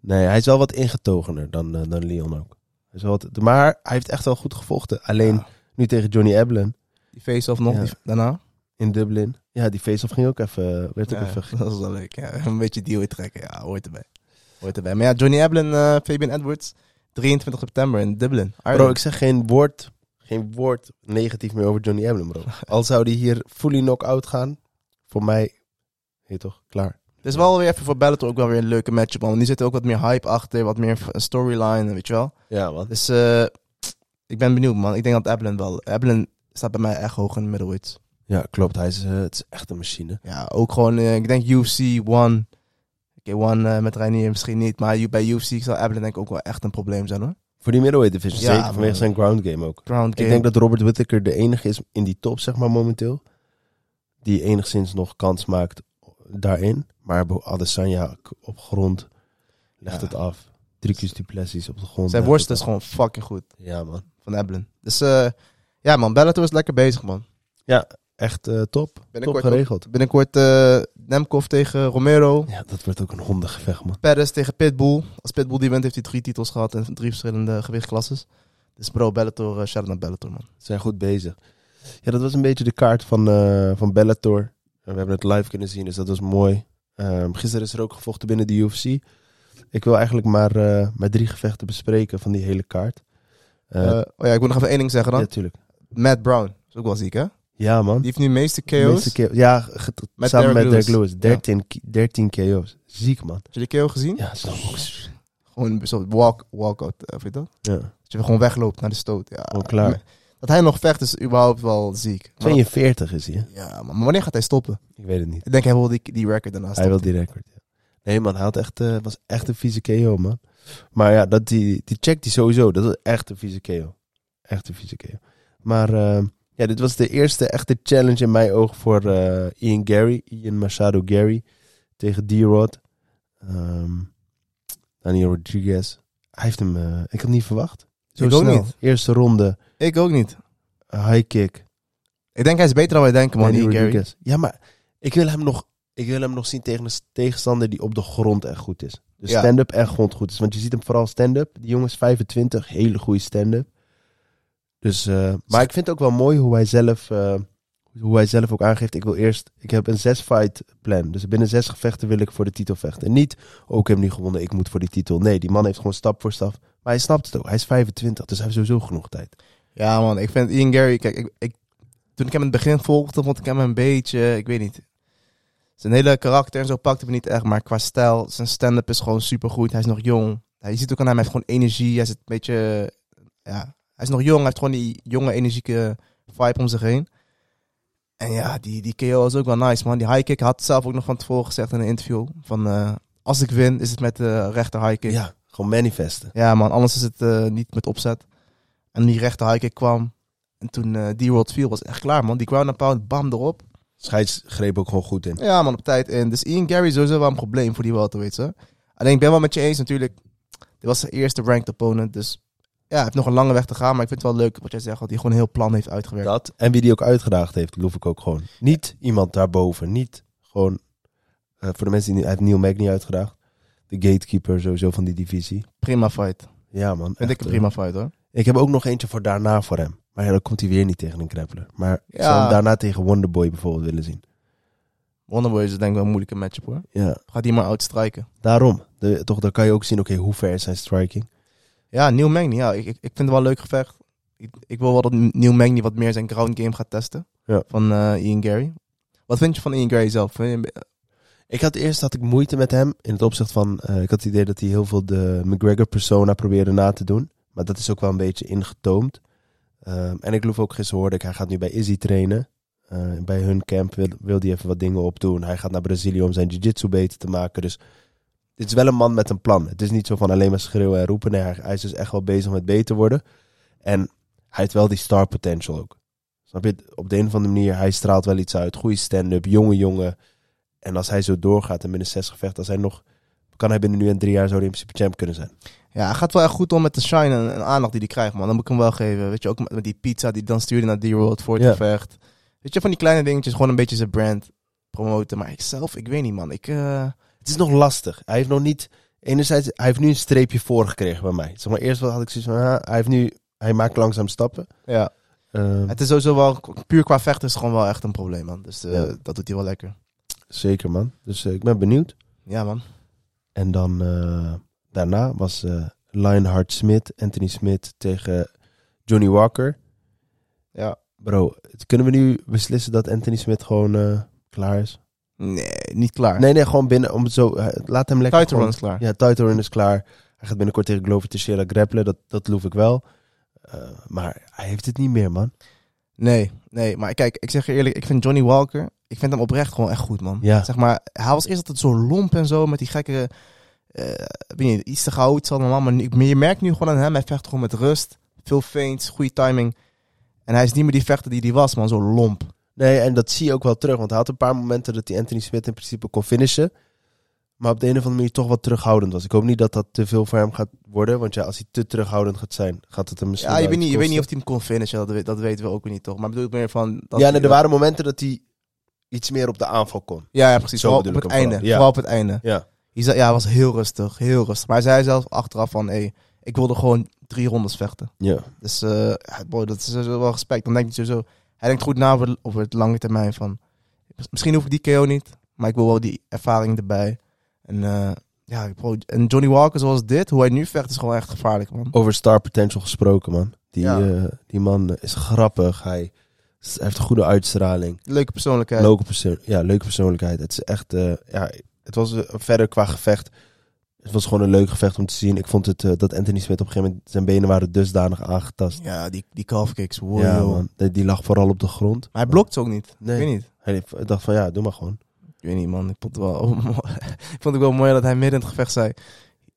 Speaker 3: Nee, hij is wel wat ingetogener dan, eh, dan Leon ook. Hij is wel wat, maar hij heeft echt wel goed gevochten. Alleen
Speaker 4: Ja.
Speaker 3: nu tegen Johnny Eblin
Speaker 4: Die face-off nog
Speaker 3: Ja.
Speaker 4: die- daarna.
Speaker 3: in Dublin. Ja, die face-off ging ook even... Werd ook
Speaker 4: Ja,
Speaker 3: even
Speaker 4: dat is wel leuk. Ja. Een beetje deal trekken, ja, hoort erbij. Hoort erbij. Maar ja, Johnny Eblin, eh, Fabian Edwards, 23 september in Dublin.
Speaker 3: Bro, ik zeg geen woord, geen woord negatief meer over Johnny Eblin, bro. Al zou die hier fully knock-out gaan, voor mij, heet toch, klaar.
Speaker 4: Het is wel weer even voor Bellator ook wel weer een leuke matchup, man. Want nu zit er ook wat meer hype achter, wat meer een storyline, weet je wel.
Speaker 3: Ja, man.
Speaker 4: Dus eh, ik ben benieuwd, man. Ik denk dat Eblin wel... Eblin staat bij mij echt hoog in de middleweights.
Speaker 3: Ja, klopt. Hij is, eh, het is echt een machine.
Speaker 4: Ja, ook gewoon, eh, ik denk UFC One. Oké, One eh, met Reinier misschien niet, maar u- bij UFC zal Eblin denk ik ook wel echt een probleem zijn, hoor.
Speaker 3: Voor die middleweight division,
Speaker 4: Ja,
Speaker 3: zeker
Speaker 4: man.
Speaker 3: vanwege zijn ground game ook.
Speaker 4: Ground game.
Speaker 3: Ik denk dat Robert Whittaker de enige is in die top, zeg maar, momenteel. Die enigszins nog kans maakt daarin. Maar Bo- Adesanya k- op grond legt
Speaker 4: Ja.
Speaker 3: het af. Dricus Duplessis op de grond.
Speaker 4: Zijn
Speaker 3: legt
Speaker 4: worst
Speaker 3: het
Speaker 4: is gewoon fucking goed.
Speaker 3: af. Ja, man.
Speaker 4: van Eblin. Dus eh, ja man, Bellator is lekker bezig man.
Speaker 3: Echt eh, top. Top
Speaker 4: Binnenkort ook-
Speaker 3: geregeld.
Speaker 4: Binnenkort eh Nemkov tegen Romero.
Speaker 3: Ja, dat wordt ook een hondengevecht, man.
Speaker 4: Perez tegen Pitbull. Als Pitbull die wint heeft hij drie titels gehad en drie verschillende gewichtklasses. Dus bro, Bellator, eh, shout-out naar Bellator man.
Speaker 3: Ze zijn goed bezig. Ja, dat was een beetje de kaart van, eh, van Bellator. En we hebben het live kunnen zien, dus dat was mooi. Ehm, gisteren is er ook gevochten binnen de UFC. Ik wil eigenlijk maar, eh, maar drie gevechten bespreken van die hele kaart. Eh,
Speaker 4: Eh, oh ja, ik moet nog even één ding zeggen dan.
Speaker 3: ja, tuurlijk.
Speaker 4: Matt Brown, is ook wel ziek hè?
Speaker 3: Ja, man.
Speaker 4: Die heeft nu de meeste
Speaker 3: De
Speaker 4: KO's.
Speaker 3: meeste KO ja, ge-
Speaker 4: Met
Speaker 3: samen
Speaker 4: Derrick
Speaker 3: met Derek
Speaker 4: Lewis.
Speaker 3: Lewis. 13, ki- 13 KO's. Ziek, man.
Speaker 4: Heb je de KO gezien?
Speaker 3: Ja, dat is toch ook-
Speaker 4: Gewoon zo'n walk, walkout, eh, weet je dat?
Speaker 3: Ja,
Speaker 4: Dat je gewoon wegloopt naar de stoot. Ja.
Speaker 3: al klaar.
Speaker 4: Dat hij nog vecht is überhaupt wel ziek. Maar
Speaker 3: 42 is hij, hè?
Speaker 4: dat- ja, maar wanneer gaat hij stoppen?
Speaker 3: Ik weet het niet.
Speaker 4: Ik denk hij wil die, die record daarnaast.
Speaker 3: Hij wil die record, ja. Nee man, hij had echt, eh, was echt een vieze KO, man. Maar ja, dat, die, die check die sowieso. Dat was echt een vieze KO. Echt een vieze KO. Maar eh, ja, dit was de eerste echte challenge in mijn oog voor eh, Ian Gary. Ian Machado Gary tegen D-Rod. Ehm, Daniel Rodriguez. Hij heeft hem, eh, ik had niet verwacht. Zo
Speaker 4: Ik ook
Speaker 3: snel.
Speaker 4: niet.
Speaker 3: Eerste ronde,
Speaker 4: Ik ook niet.
Speaker 3: high kick.
Speaker 4: Ik denk hij is beter dan wij denken, man.
Speaker 3: Manny
Speaker 4: Ian Gary.
Speaker 3: Rodriguez. Ja, maar ik wil, hem nog, ik wil hem nog zien tegen een s- tegenstander die op de grond echt goed is. Dus
Speaker 4: Ja.
Speaker 3: stand-up echt gewoon goed is. Want je ziet hem vooral stand-up. Die jongen is 25, hele goede stand-up. Dus, eh, maar ik vind het ook wel mooi hoe hij zelf, eh, hoe hij zelf ook aangeeft. Ik wil eerst, ik heb een zes-fight plan. Dus binnen zes gevechten wil ik voor de titel vechten. En niet, oh ik heb hem niet gewonnen, ik moet voor die titel. Nee, die man heeft gewoon stap voor stap. Maar hij snapt het ook. Hij is 25, dus hij heeft sowieso genoeg tijd.
Speaker 4: Ja, man. Ik vind Ian Gary... Kijk, ik, ik, toen ik hem in het begin volgde, vond ik hem een beetje... Ik weet niet. Zijn hele karakter en zo pakte me niet echt. Maar qua stijl, zijn stand-up is gewoon supergoed. Hij is nog jong. Hij, je ziet ook aan hem, hij heeft gewoon energie. Hij is een beetje... Ja, hij is nog jong. Hij heeft gewoon die jonge, energieke vibe om zich heen. En ja, die, die KO is ook wel nice, man. Die high kick hij had zelf ook nog van tevoren gezegd in een interview. Van, eh, als ik win, is het met de rechter high kick.
Speaker 3: Ja, gewoon manifesten.
Speaker 4: Ja, man, anders is het eh, niet met opzet. En die rechter high kick kwam. En toen eh die world viel, was echt klaar, man. Die ground and pound, bam, erop.
Speaker 3: Scheids greep ook gewoon goed in.
Speaker 4: Ja, man, op tijd in. Dus Ian Gary is sowieso wel een probleem voor die welterweights, hè. Alleen, ik ben wel met je eens natuurlijk. Dit was zijn eerste ranked opponent, dus... Ja, hij heeft nog een lange weg te gaan, maar ik vind het wel leuk wat jij zegt, dat hij gewoon een heel plan heeft uitgewerkt.
Speaker 3: Dat. En wie die ook uitgedaagd heeft, loef ik ook gewoon. Niet iemand daarboven. Niet gewoon... eh, voor de mensen die... Hij heeft Neil Mack niet uitgedaagd. De gatekeeper sowieso van die divisie.
Speaker 4: Prima fight.
Speaker 3: Ja, man.
Speaker 4: Vind
Speaker 3: echt,
Speaker 4: ik een
Speaker 3: eh,
Speaker 4: prima fight, hoor.
Speaker 3: Ik heb ook nog eentje voor daarna voor hem. Maar ja, dan komt hij weer niet tegen een grappler. Maar ik zou
Speaker 4: Ja.
Speaker 3: hem daarna tegen Wonderboy bijvoorbeeld willen zien.
Speaker 4: Wonderboy is denk ik wel een moeilijke matchup, hoor.
Speaker 3: Ja,
Speaker 4: Gaat die maar uitstrijken.
Speaker 3: daarom. De, toch, dan kan je ook zien, oké, hoe ver is zijn striking?
Speaker 4: Ja, Neil Magny, ja, ik, ik, ik vind het wel een leuk gevecht. Ik, ik wil wel dat Neil Magny wat meer zijn ground game gaat testen.
Speaker 3: Ja.
Speaker 4: Van eh, Ian Gary. Wat vind je van Ian Gary zelf? Vind je hem-
Speaker 3: Ik had eerst had ik moeite met hem in het opzicht van. eh, ik had het idee dat hij heel veel de McGregor-persona probeerde na te doen. Maar dat is ook wel een beetje ingetoomd. Ehm, en ik geloof ook gisteren hoorde ik, hij gaat nu bij Izzy trainen. Eh, bij hun camp wil, wil hij even wat dingen opdoen. Hij gaat naar Brazilië om zijn jiu-jitsu beter te maken. Dus dit is wel een man met een plan. Het is niet zo van alleen maar schreeuwen en roepen. Nee, hij, hij is dus echt wel bezig met beter worden. En hij heeft wel die star potential ook. Snap je? Op de een of andere manier, hij straalt wel iets uit. Goede stand-up, jonge jongen. En als hij zo doorgaat en binnen zes gevechten, als hij nog, kan hij binnen nu en drie jaar zo de Olympische champ kunnen zijn.
Speaker 4: Ja, hij gaat wel echt goed om met de shine en, en aandacht die hij krijgt, man. Dat moet ik hem wel geven. Weet je, ook met, met die pizza die hij dan stuurde naar D-World voor het
Speaker 3: Ja.
Speaker 4: gevecht. Weet je, van die kleine dingetjes, gewoon een beetje zijn brand promoten. Maar ik zelf, ik weet niet, man. Ik, eh,
Speaker 3: Het is nog lastig. Hij heeft nog niet. Enerzijds, hij heeft nu een streepje voor gekregen bij mij. Zeg maar, eerst had ik zoiets van, ah, hij heeft nu, hij maakt langzaam stappen.
Speaker 4: ja.
Speaker 3: Ehm,
Speaker 4: Het is sowieso wel, puur qua vechten is het gewoon wel echt een probleem, man. Dus eh,
Speaker 3: Ja.
Speaker 4: dat doet hij wel lekker.
Speaker 3: Zeker man. Dus eh, ik ben benieuwd.
Speaker 4: Ja, man.
Speaker 3: En dan eh, daarna was eh Lionheart Smith, Anthony Smith tegen Johnny Walker.
Speaker 4: Ja.
Speaker 3: Bro, het- kunnen we nu beslissen dat Anthony Smith gewoon eh, klaar is?
Speaker 4: Nee, niet klaar.
Speaker 3: Nee, nee, gewoon binnen. Om het zo, eh, laat hem lekker.
Speaker 4: Title
Speaker 3: gewoon-
Speaker 4: run is klaar.
Speaker 3: Ja, title run is klaar. Hij gaat binnenkort tegen Glover Teixeira grappelen. Dat, dat loof ik wel. Eh, maar hij heeft het niet meer, man.
Speaker 4: Nee, nee. Maar kijk, ik zeg je eerlijk, ik vind Johnny Walker, ik vind hem oprecht gewoon echt goed, man.
Speaker 3: Ja.
Speaker 4: Zeg maar, hij was eerst altijd zo lomp en zo, met die gekke, eh weet niet, iets te gehouden zal allemaal. Maar, nu- maar je merkt nu gewoon aan hem, hij vecht gewoon met rust, veel feints, goede timing. En hij is niet meer die vechter die hij was, man, zo lomp.
Speaker 3: Nee, en dat zie je ook wel terug. Want hij had een paar momenten dat hij Anthony Smith in principe kon finishen. Maar op de een of andere manier toch wat terughoudend was. Ik hoop niet dat dat te veel voor hem gaat worden. Want ja, als hij te terughoudend gaat zijn, gaat het hem misschien.
Speaker 4: Ja, je
Speaker 3: wel
Speaker 4: weet, niet,
Speaker 3: iets
Speaker 4: je weet niet
Speaker 3: kosten.
Speaker 4: of hij hem kon finishen, dat, we- dat weten we ook weer niet, toch? Maar ik bedoel ik meer van... Dat
Speaker 3: Ja,
Speaker 4: hij-
Speaker 3: nee, er waren momenten dat hij iets meer op de aanval kon.
Speaker 4: Ja, ja, precies.
Speaker 3: Zo
Speaker 4: Vooral op
Speaker 3: bedoel
Speaker 4: het
Speaker 3: ik hem
Speaker 4: einde.
Speaker 3: vooral. Ja.
Speaker 4: Vooral op het einde.
Speaker 3: Ja.
Speaker 4: Hij, zei, ja, hij was heel rustig, heel rustig. Maar hij zei zelf achteraf van, hé, hey, ik wilde gewoon drie rondes vechten.
Speaker 3: Ja.
Speaker 4: Dus eh, ja, boy, dat is sowieso wel respect. Dan denkt hij sowieso, hij denkt goed na over, de- over het lange termijn van, misschien hoef ik die KO niet, maar ik wil wel die ervaring erbij. En eh, ja, bro, en Johnny Walker zoals dit, hoe hij nu vecht, is gewoon echt gevaarlijk, man.
Speaker 3: Over star potential gesproken, man. Die,
Speaker 4: Ja.
Speaker 3: eh, die man is grappig. Hij s- heeft een goede uitstraling.
Speaker 4: Leuke persoonlijkheid.
Speaker 3: Leuke, perso- ja, leuke persoonlijkheid. Het, is echt, eh, ja, het was eh, verder qua gevecht Het was gewoon een leuk gevecht om te zien. Ik vond het eh, dat Anthony Smith op een gegeven moment zijn benen waren dusdanig aangetast.
Speaker 4: Ja, die, die calf kicks. Wow.
Speaker 3: Ja, man. Die, die lag vooral op de grond.
Speaker 4: Maar hij blokt ze ook niet.
Speaker 3: Nee.
Speaker 4: Ik weet niet.
Speaker 3: Hij dacht van ja, doe maar gewoon.
Speaker 4: Ik weet niet, man. Ik vond het wel, ik vond het wel mooi dat hij midden in het gevecht zei...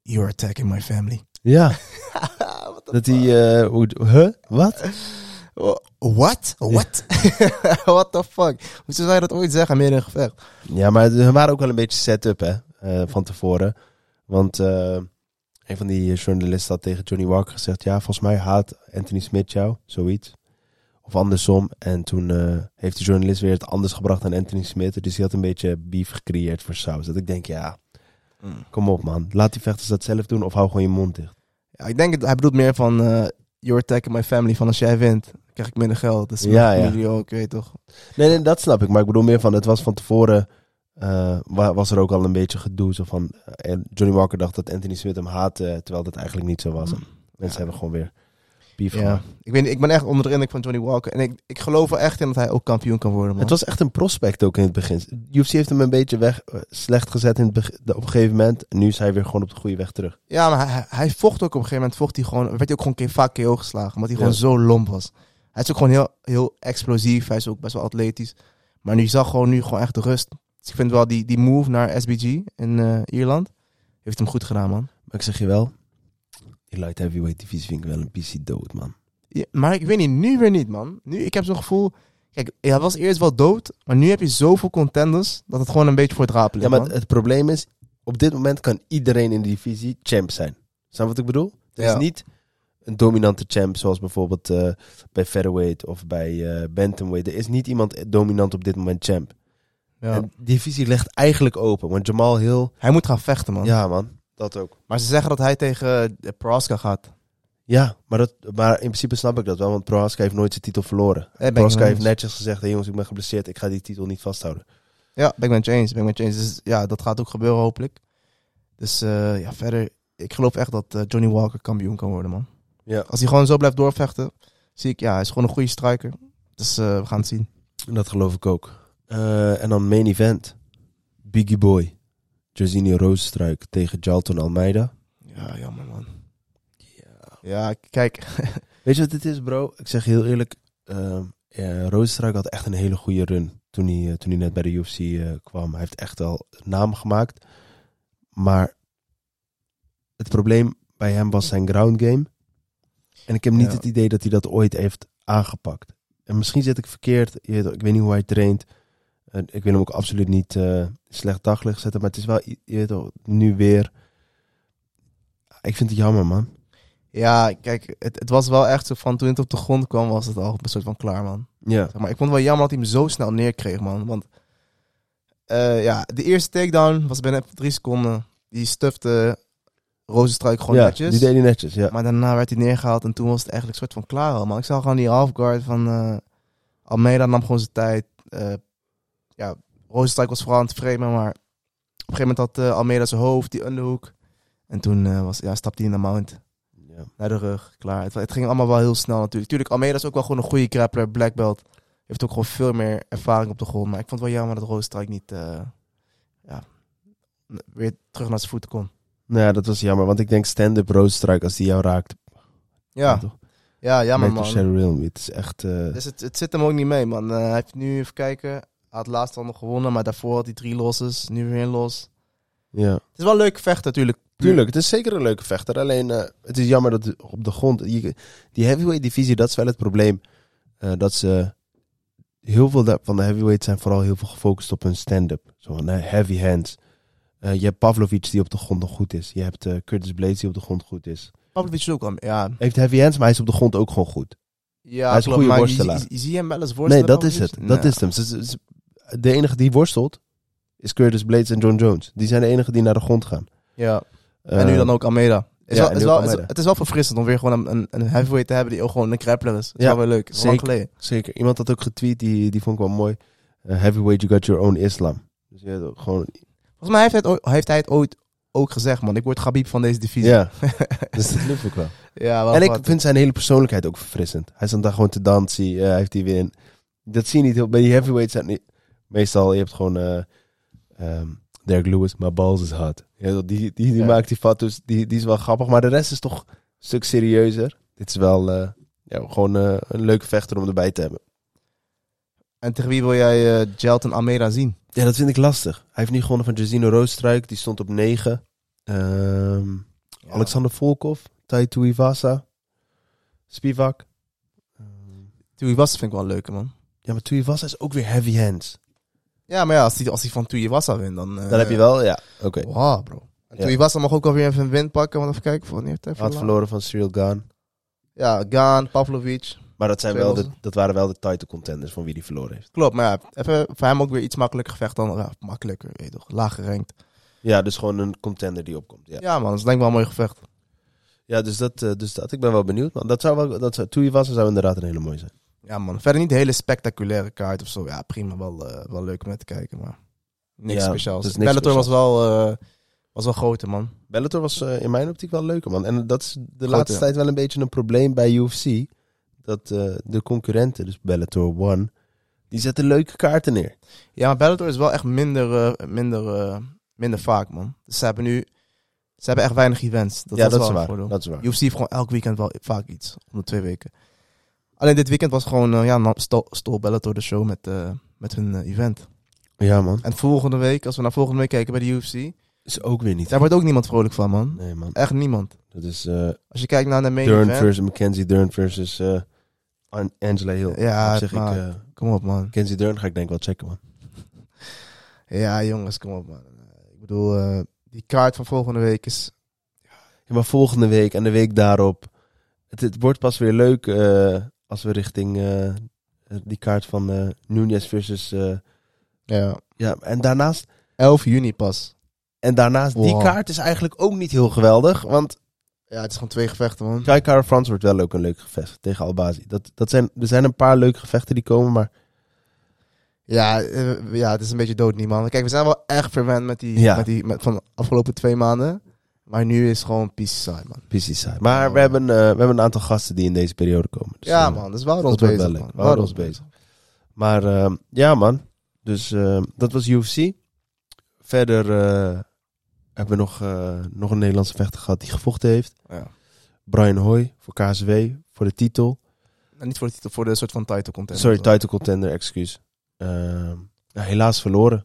Speaker 4: You're attacking my family.
Speaker 3: Ja,
Speaker 4: What?
Speaker 3: dat hij. eh, hoe- huh? Wat?
Speaker 4: What? What? What the fuck? Hoe zou hij dat ooit zeggen midden in een gevecht?
Speaker 3: Ja, maar ze waren ook wel een beetje set-up hè, eh, van tevoren. Want eh, een van die eh, journalisten had tegen Johnny Walker gezegd: Ja, volgens mij haat Anthony Smith jou, zoiets. Of andersom. En toen eh, heeft die journalist weer het anders gebracht aan Anthony Smith. Dus die had een beetje beef gecreëerd voor Saus. Dat ik denk, ja, kom op man. Laat die vechters dat zelf doen of hou gewoon je mond dicht.
Speaker 4: Ja, ik denk, het, hij bedoelt meer van... eh, you're attacking my family. Van als jij wint, krijg ik minder geld. Dus
Speaker 3: Ja,
Speaker 4: ja,
Speaker 3: ja.
Speaker 4: jullie ook, weet je toch?
Speaker 3: Nee, nee, dat snap ik. Maar ik bedoel meer van, het was van tevoren, eh, wa- was er ook al een beetje gedoe. Zo van, eh, en Johnny Walker dacht dat Anthony Smith hem haatte, eh, terwijl dat eigenlijk niet zo was. En Mensen hebben gewoon weer beef
Speaker 4: Ja.
Speaker 3: gemaakt.
Speaker 4: Ik, weet, niet, ik ben echt onder de indruk van Johnny Walker. En ik, ik geloof er echt in dat hij ook kampioen kan worden, man.
Speaker 3: Het was echt een prospect ook in het begin. UFC heeft hem een beetje weg, eh, slecht gezet in het beg- op een gegeven moment. En nu is hij weer gewoon op de goede weg terug.
Speaker 4: Ja, maar hij, hij vocht ook op een gegeven moment. Vocht hij gewoon, werd hij ook gewoon ke- vaak KO geslagen. Omdat hij
Speaker 3: Ja.
Speaker 4: gewoon zo lomp was. Hij is ook gewoon heel, heel explosief. Hij is ook best wel atletisch. Maar nu je zag gewoon nu gewoon echt de rust. Dus ik vind wel die, die move naar SBG in eh, Ierland. Heeft hem goed gedaan, man.
Speaker 3: Maar ik zeg je wel, die light heavyweight divisie vind ik wel een PC dood, man.
Speaker 4: Ja, maar ik weet niet, nu weer niet, man. Nu, ik heb zo'n gevoel. Kijk, hij was eerst wel dood. Maar nu heb je zoveel contenders. dat het gewoon een beetje voor het rapen
Speaker 3: Ja,
Speaker 4: ligt.
Speaker 3: maar
Speaker 4: man.
Speaker 3: het, het probleem is, op dit moment kan iedereen in de divisie champ zijn. Snap je wat ik bedoel? Het
Speaker 4: Ja.
Speaker 3: is niet een dominante champ zoals bijvoorbeeld eh, bij featherweight of bij eh, bantamweight. Er is niet iemand dominant op dit moment champ.
Speaker 4: Ja.
Speaker 3: En die divisie ligt eigenlijk open, want Jamal Hill...
Speaker 4: Hij moet gaan vechten, man.
Speaker 3: Ja man, dat ook.
Speaker 4: Maar ze zeggen dat hij tegen eh, Prohaska gaat.
Speaker 3: Ja, maar, dat, maar in principe snap ik dat wel, want Prohaska heeft nooit zijn titel verloren.
Speaker 4: Eh, ben ik
Speaker 3: Prohaska
Speaker 4: mee
Speaker 3: heeft
Speaker 4: eens.
Speaker 3: netjes gezegd, hey jongens, ik ben geblesseerd, ik ga die titel niet vasthouden.
Speaker 4: Ja, ben ik met je eens. Ben ik met je eens. Dus ja, dat gaat ook gebeuren hopelijk. Dus eh, ja, verder, ik geloof echt dat eh, Johnny Walker kampioen kan worden, man.
Speaker 3: Ja,
Speaker 4: Als hij gewoon zo blijft doorvechten, zie ik, ja, hij is gewoon een goede striker. Dus eh, we gaan het zien.
Speaker 3: Dat geloof ik ook. Eh, en dan main event. Biggie Boy. Jorginho Rozenstruik tegen Jalton Almeida.
Speaker 4: Ja, jammer, man. Ja, k- kijk.
Speaker 3: Weet je wat dit is, bro? Ik zeg je heel eerlijk. ehm eh, Rozenstruik had echt een hele goede run toen hij, eh, toen hij net bij de UFC eh, kwam. Hij heeft echt wel naam gemaakt. Maar het probleem bij hem was zijn ground game. En ik heb niet
Speaker 4: Ja.
Speaker 3: het idee dat hij dat ooit heeft aangepakt. En misschien zit ik verkeerd. Je weet- Ik weet niet hoe hij traint. En ik wil hem ook absoluut niet eh, slecht daglicht zetten. Maar het is wel i- je weet toch, nu weer. Ik vind het jammer, man.
Speaker 4: Ja, kijk, het, het was wel echt zo van toen het op de grond kwam, was het al een soort van klaar, man.
Speaker 3: Ja.
Speaker 4: Zeg maar ik vond het wel jammer dat hij hem zo snel neerkreeg, man. Want eh, ja, de eerste takedown was binnen drie seconden. Die stufte Rozenstruik gewoon
Speaker 3: ja,
Speaker 4: netjes.
Speaker 3: Die deed hij netjes, ja.
Speaker 4: Maar daarna werd hij neergehaald en toen was het eigenlijk soort van klaar al. Maar ik zag gewoon die halfguard van eh Almeida nam gewoon zijn tijd. Eh, ja, Rozenstruik was vooral aan het framen, maar op een gegeven moment had eh, Almeida zijn hoofd, die underhook. En toen eh, was, ja, stapte hij in de mount,
Speaker 3: ja.
Speaker 4: naar de rug, klaar. Het, het ging allemaal wel heel snel natuurlijk. Tuurlijk, Almeida is ook wel gewoon een goede grappler, black belt. Heeft ook gewoon veel meer ervaring op de grond. Maar ik vond het wel jammer dat Rozenstruik niet eh, ja, n- weer terug naar zijn voeten kon.
Speaker 3: Nou ja, dat was jammer. Want ik denk stand-up roadstrike als die jou raakt.
Speaker 4: Ja,
Speaker 3: toch?
Speaker 4: ja jammer
Speaker 3: Lijkt op
Speaker 4: man.
Speaker 3: Sherry Realm. Het is echt... eh,
Speaker 4: Dus het, het zit hem ook niet mee, man. Eh, hij heeft nu even kijken. Hij had laatst al nog gewonnen, maar daarvoor had hij drie losses. Nu weer een los.
Speaker 3: ja.
Speaker 4: Het is wel een leuke vecht natuurlijk.
Speaker 3: Tuurlijk, het is zeker een leuke vechter. Alleen eh, het is jammer dat op de grond. je- die heavyweight divisie, dat is wel het probleem. Eh, dat ze. Heel veel da- van de heavyweights zijn vooral heel veel gefocust op hun stand-up. Zo van, eh, heavy hands. Eh, je hebt Pavlovic die op de grond nog goed is. Je hebt eh, Curtis Blades die op de grond goed is.
Speaker 4: Pavlovic is ook al... Ja,
Speaker 3: Hij heeft heavy hands, maar hij is op de grond ook gewoon goed.
Speaker 4: ja
Speaker 3: Hij is een
Speaker 4: klopt,
Speaker 3: goede
Speaker 4: maar je-
Speaker 3: worstelaar.
Speaker 4: Je, je ziet hem wel eens worstelen. Nou
Speaker 3: Nee, dat is
Speaker 4: Pavlovic?
Speaker 3: het. Dat
Speaker 4: Nee.
Speaker 3: is hem. Ze- ze- ze- de enige die worstelt is Curtis Blades en John Jones. Die zijn de enige die naar de grond gaan.
Speaker 4: Ja, en nu
Speaker 3: Eh,
Speaker 4: dan ook Almeida. Is
Speaker 3: ja,
Speaker 4: wel,
Speaker 3: en
Speaker 4: is
Speaker 3: nu
Speaker 4: wel,
Speaker 3: ook
Speaker 4: is-
Speaker 3: Almeida.
Speaker 4: het is wel verfrissend om weer gewoon een, een, een heavyweight te hebben die ook gewoon een grappler is. Dat is
Speaker 3: Ja,
Speaker 4: wel weer leuk. Dat is lang
Speaker 3: zeker.
Speaker 4: geleden.
Speaker 3: Zeker. Iemand had ook getweet, die, die vond ik wel mooi. Eh, heavyweight, you got your own Islam. Dus je hebt ook gewoon...
Speaker 4: Volgens mij heeft hij, het ooit, heeft hij het ooit ook gezegd, man. Ik word Gabib van deze divisie.
Speaker 3: Ja. dus dat liep ik wel.
Speaker 4: ja wel
Speaker 3: En ik
Speaker 4: wat.
Speaker 3: vind zijn hele persoonlijkheid ook verfrissend. Hij stond daar gewoon te dansen, eh, hij heeft die win. Dat zie je niet heel... Bij die heavyweights zijn niet... Meestal, je hebt gewoon... eh, ehm, Derek Lewis, maar balls is hot. Ja, dat- die die, die
Speaker 4: Ja.
Speaker 3: maakt die foto's, die, die is wel grappig. Maar de rest is toch een stuk serieuzer. Dit is wel eh, ja, gewoon eh, een leuke vechter om erbij te hebben.
Speaker 4: En tegen wie wil jij eh, Jelton Almeida zien?
Speaker 3: Ja, dat vind ik lastig. Hij heeft nu gewonnen van Jazino Roosstruik. Die stond op 9. Ehm, Alexander Volkov, Taito Ivasa, Spivak.
Speaker 4: Tui was vind ik wel een leuke man.
Speaker 3: Ja, maar Tuivasa is ook weer heavy hands.
Speaker 4: Ja, maar ja, als hij als die van Tui Wassa wint, dan... eh,
Speaker 3: Dan heb je wel, ja, oké.
Speaker 4: Wow, bro. En
Speaker 3: Ja.
Speaker 4: Tui Wassa mag ook alweer even een win pakken, want even kijken. Voor, wanneer heeft hij
Speaker 3: Had
Speaker 4: verloren?
Speaker 3: verloren van Cyril Gaan.
Speaker 4: Ja, Gaan, Pavlovic.
Speaker 3: Maar dat, zijn
Speaker 4: Twee
Speaker 3: wel de,
Speaker 4: lossen.
Speaker 3: dat waren wel de title contenders van wie die verloren heeft.
Speaker 4: Klopt, maar ja, even voor hem ook weer iets makkelijker gevecht dan... Ja, makkelijker, weet je toch. Laag gerankt.
Speaker 3: Ja, dus gewoon een contender die opkomt. Ja,
Speaker 4: Ja, man, dat is denk ik wel een mooi gevecht.
Speaker 3: ja dus, dat, eh, dus dat. Ik ben wel benieuwd. Man. Dat zou wel, dat zou, Tuivasa zou inderdaad een hele mooie zijn.
Speaker 4: Ja, man. Verder niet een hele spectaculaire kaart of zo. Ja, prima. Wel, eh, wel leuk om naar te kijken, maar... Niks
Speaker 3: Ja,
Speaker 4: speciaals.
Speaker 3: dat is
Speaker 4: Dus
Speaker 3: niks
Speaker 4: Bellator was wel, eh, was wel groter, man.
Speaker 3: Bellator was eh, in mijn optiek wel leuker, man. En dat is de
Speaker 4: Groot,
Speaker 3: laatste
Speaker 4: ja.
Speaker 3: tijd wel een beetje een probleem bij UFC. Dat eh, de concurrenten, dus Bellator One, die zetten leuke kaarten neer.
Speaker 4: Ja, maar Bellator is wel echt minder, eh, minder, eh, minder vaak, man. Dus ze hebben nu... Ze hebben echt weinig events. Dat
Speaker 3: ja,
Speaker 4: is
Speaker 3: dat
Speaker 4: wel
Speaker 3: is,
Speaker 4: een
Speaker 3: waar,
Speaker 4: voordeel.
Speaker 3: dat is waar.
Speaker 4: UFC heeft gewoon elk weekend wel vaak iets. Om de twee weken. Alleen dit weekend was gewoon... eh, ja, nam- stol, stol Bellator de show met, eh, met hun eh, event.
Speaker 3: Ja, man.
Speaker 4: En volgende week, als we naar volgende week kijken bij de UFC...
Speaker 3: Is ook weer niet.
Speaker 4: Daar wordt ook niemand vrolijk van, man.
Speaker 3: Nee, man.
Speaker 4: Echt niemand.
Speaker 3: Dat is eh,
Speaker 4: Als je kijkt naar de main
Speaker 3: Dern
Speaker 4: event...
Speaker 3: versus Mackenzie Dern versus eh, An- Angela Hill.
Speaker 4: Ja,
Speaker 3: Dat zeg ik,
Speaker 4: maar-
Speaker 3: eh,
Speaker 4: Kom op, man.
Speaker 3: Mackenzie Dern ga ik denk ik wel checken, man.
Speaker 4: Ja, jongens, kom op, man. Ik bedoel, eh, die kaart van volgende week is...
Speaker 3: Ja, maar volgende week en de week daarop. Het, het wordt pas weer leuk eh, als we richting eh, die kaart van eh Nunez versus... eh,
Speaker 4: Ja,
Speaker 3: ja, en daarnaast
Speaker 4: 11 juni pas.
Speaker 3: En daarnaast, die
Speaker 4: Wow.
Speaker 3: kaart is eigenlijk ook niet heel geweldig. Want
Speaker 4: Ja, het is gewoon twee gevechten, man.
Speaker 3: Kai Kara Frans wordt wel ook een leuk gevecht tegen Albazi. Dat, dat zijn, er zijn een paar leuke gevechten die komen, maar
Speaker 4: Ja, eh, ja het is een beetje dood niet, man. Kijk, we zijn wel echt verwend met die,
Speaker 3: Ja.
Speaker 4: met die met, van de afgelopen twee maanden. Maar nu is het gewoon peace saai, man.
Speaker 3: precies saai. Maar we, hebben, eh, we hebben een aantal gasten die in deze periode komen. Dus,
Speaker 4: ja,
Speaker 3: eh,
Speaker 4: man, dus we houden
Speaker 3: dat
Speaker 4: ons
Speaker 3: wordt
Speaker 4: bezig,
Speaker 3: wel
Speaker 4: man.
Speaker 3: leuk. We houden ons bezig. Maar eh, ja, man. Dus eh, dat was UFC. Verder eh, hebben we nog, eh, nog een Nederlandse vechter gehad die gevochten heeft.
Speaker 4: Ja.
Speaker 3: Brian Hoy voor KSW, voor de titel.
Speaker 4: Nou, niet voor de titel, voor de soort van title content.
Speaker 3: Sorry, title contender, excuus. Ehm, nou, helaas verloren.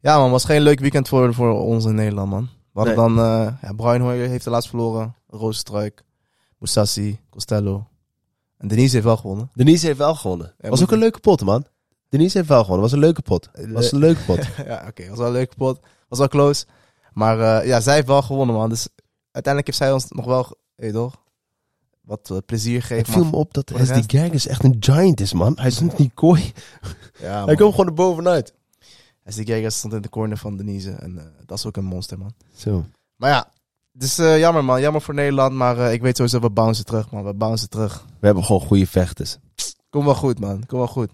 Speaker 4: Ja, man, was geen leuk weekend voor, voor ons in Nederland, man. We hadden
Speaker 3: Nee.
Speaker 4: dan... eh ja, Brian Hoyer heeft helaas verloren. Roosstruik, Moussassi, Costello. En Denise heeft wel gewonnen.
Speaker 3: Denise heeft wel gewonnen.
Speaker 4: Ja,
Speaker 3: was
Speaker 4: moet
Speaker 3: ook een
Speaker 4: ik-
Speaker 3: leuke pot, man. Denise heeft wel gewonnen. Was een leuke pot. Was een leuke pot.
Speaker 4: ja, oké. was wel een leuke pot. Was wel close. Maar eh, ja, zij heeft wel gewonnen, man. Dus uiteindelijk heeft zij ons nog wel, ge- weet je toch, wat eh, plezier
Speaker 3: Ik
Speaker 4: gegeven.
Speaker 3: viel me op dat
Speaker 4: Voor de
Speaker 3: SD
Speaker 4: rest-
Speaker 3: Gaggers echt een giant is, man. Hij stond in die kooi.
Speaker 4: Ja,
Speaker 3: Hij
Speaker 4: man.
Speaker 3: kwam gewoon er bovenuit.
Speaker 4: SD Geigers stond in de corner van Denise. En eh, dat is ook een monster, man.
Speaker 3: Zo.
Speaker 4: Maar ja, dus eh, jammer, man. Jammer voor Nederland. Maar eh, ik weet sowieso, we bouncen terug, man. We bouncen terug.
Speaker 3: We hebben gewoon goede vechters.
Speaker 4: Kom wel goed, man. Kom wel goed.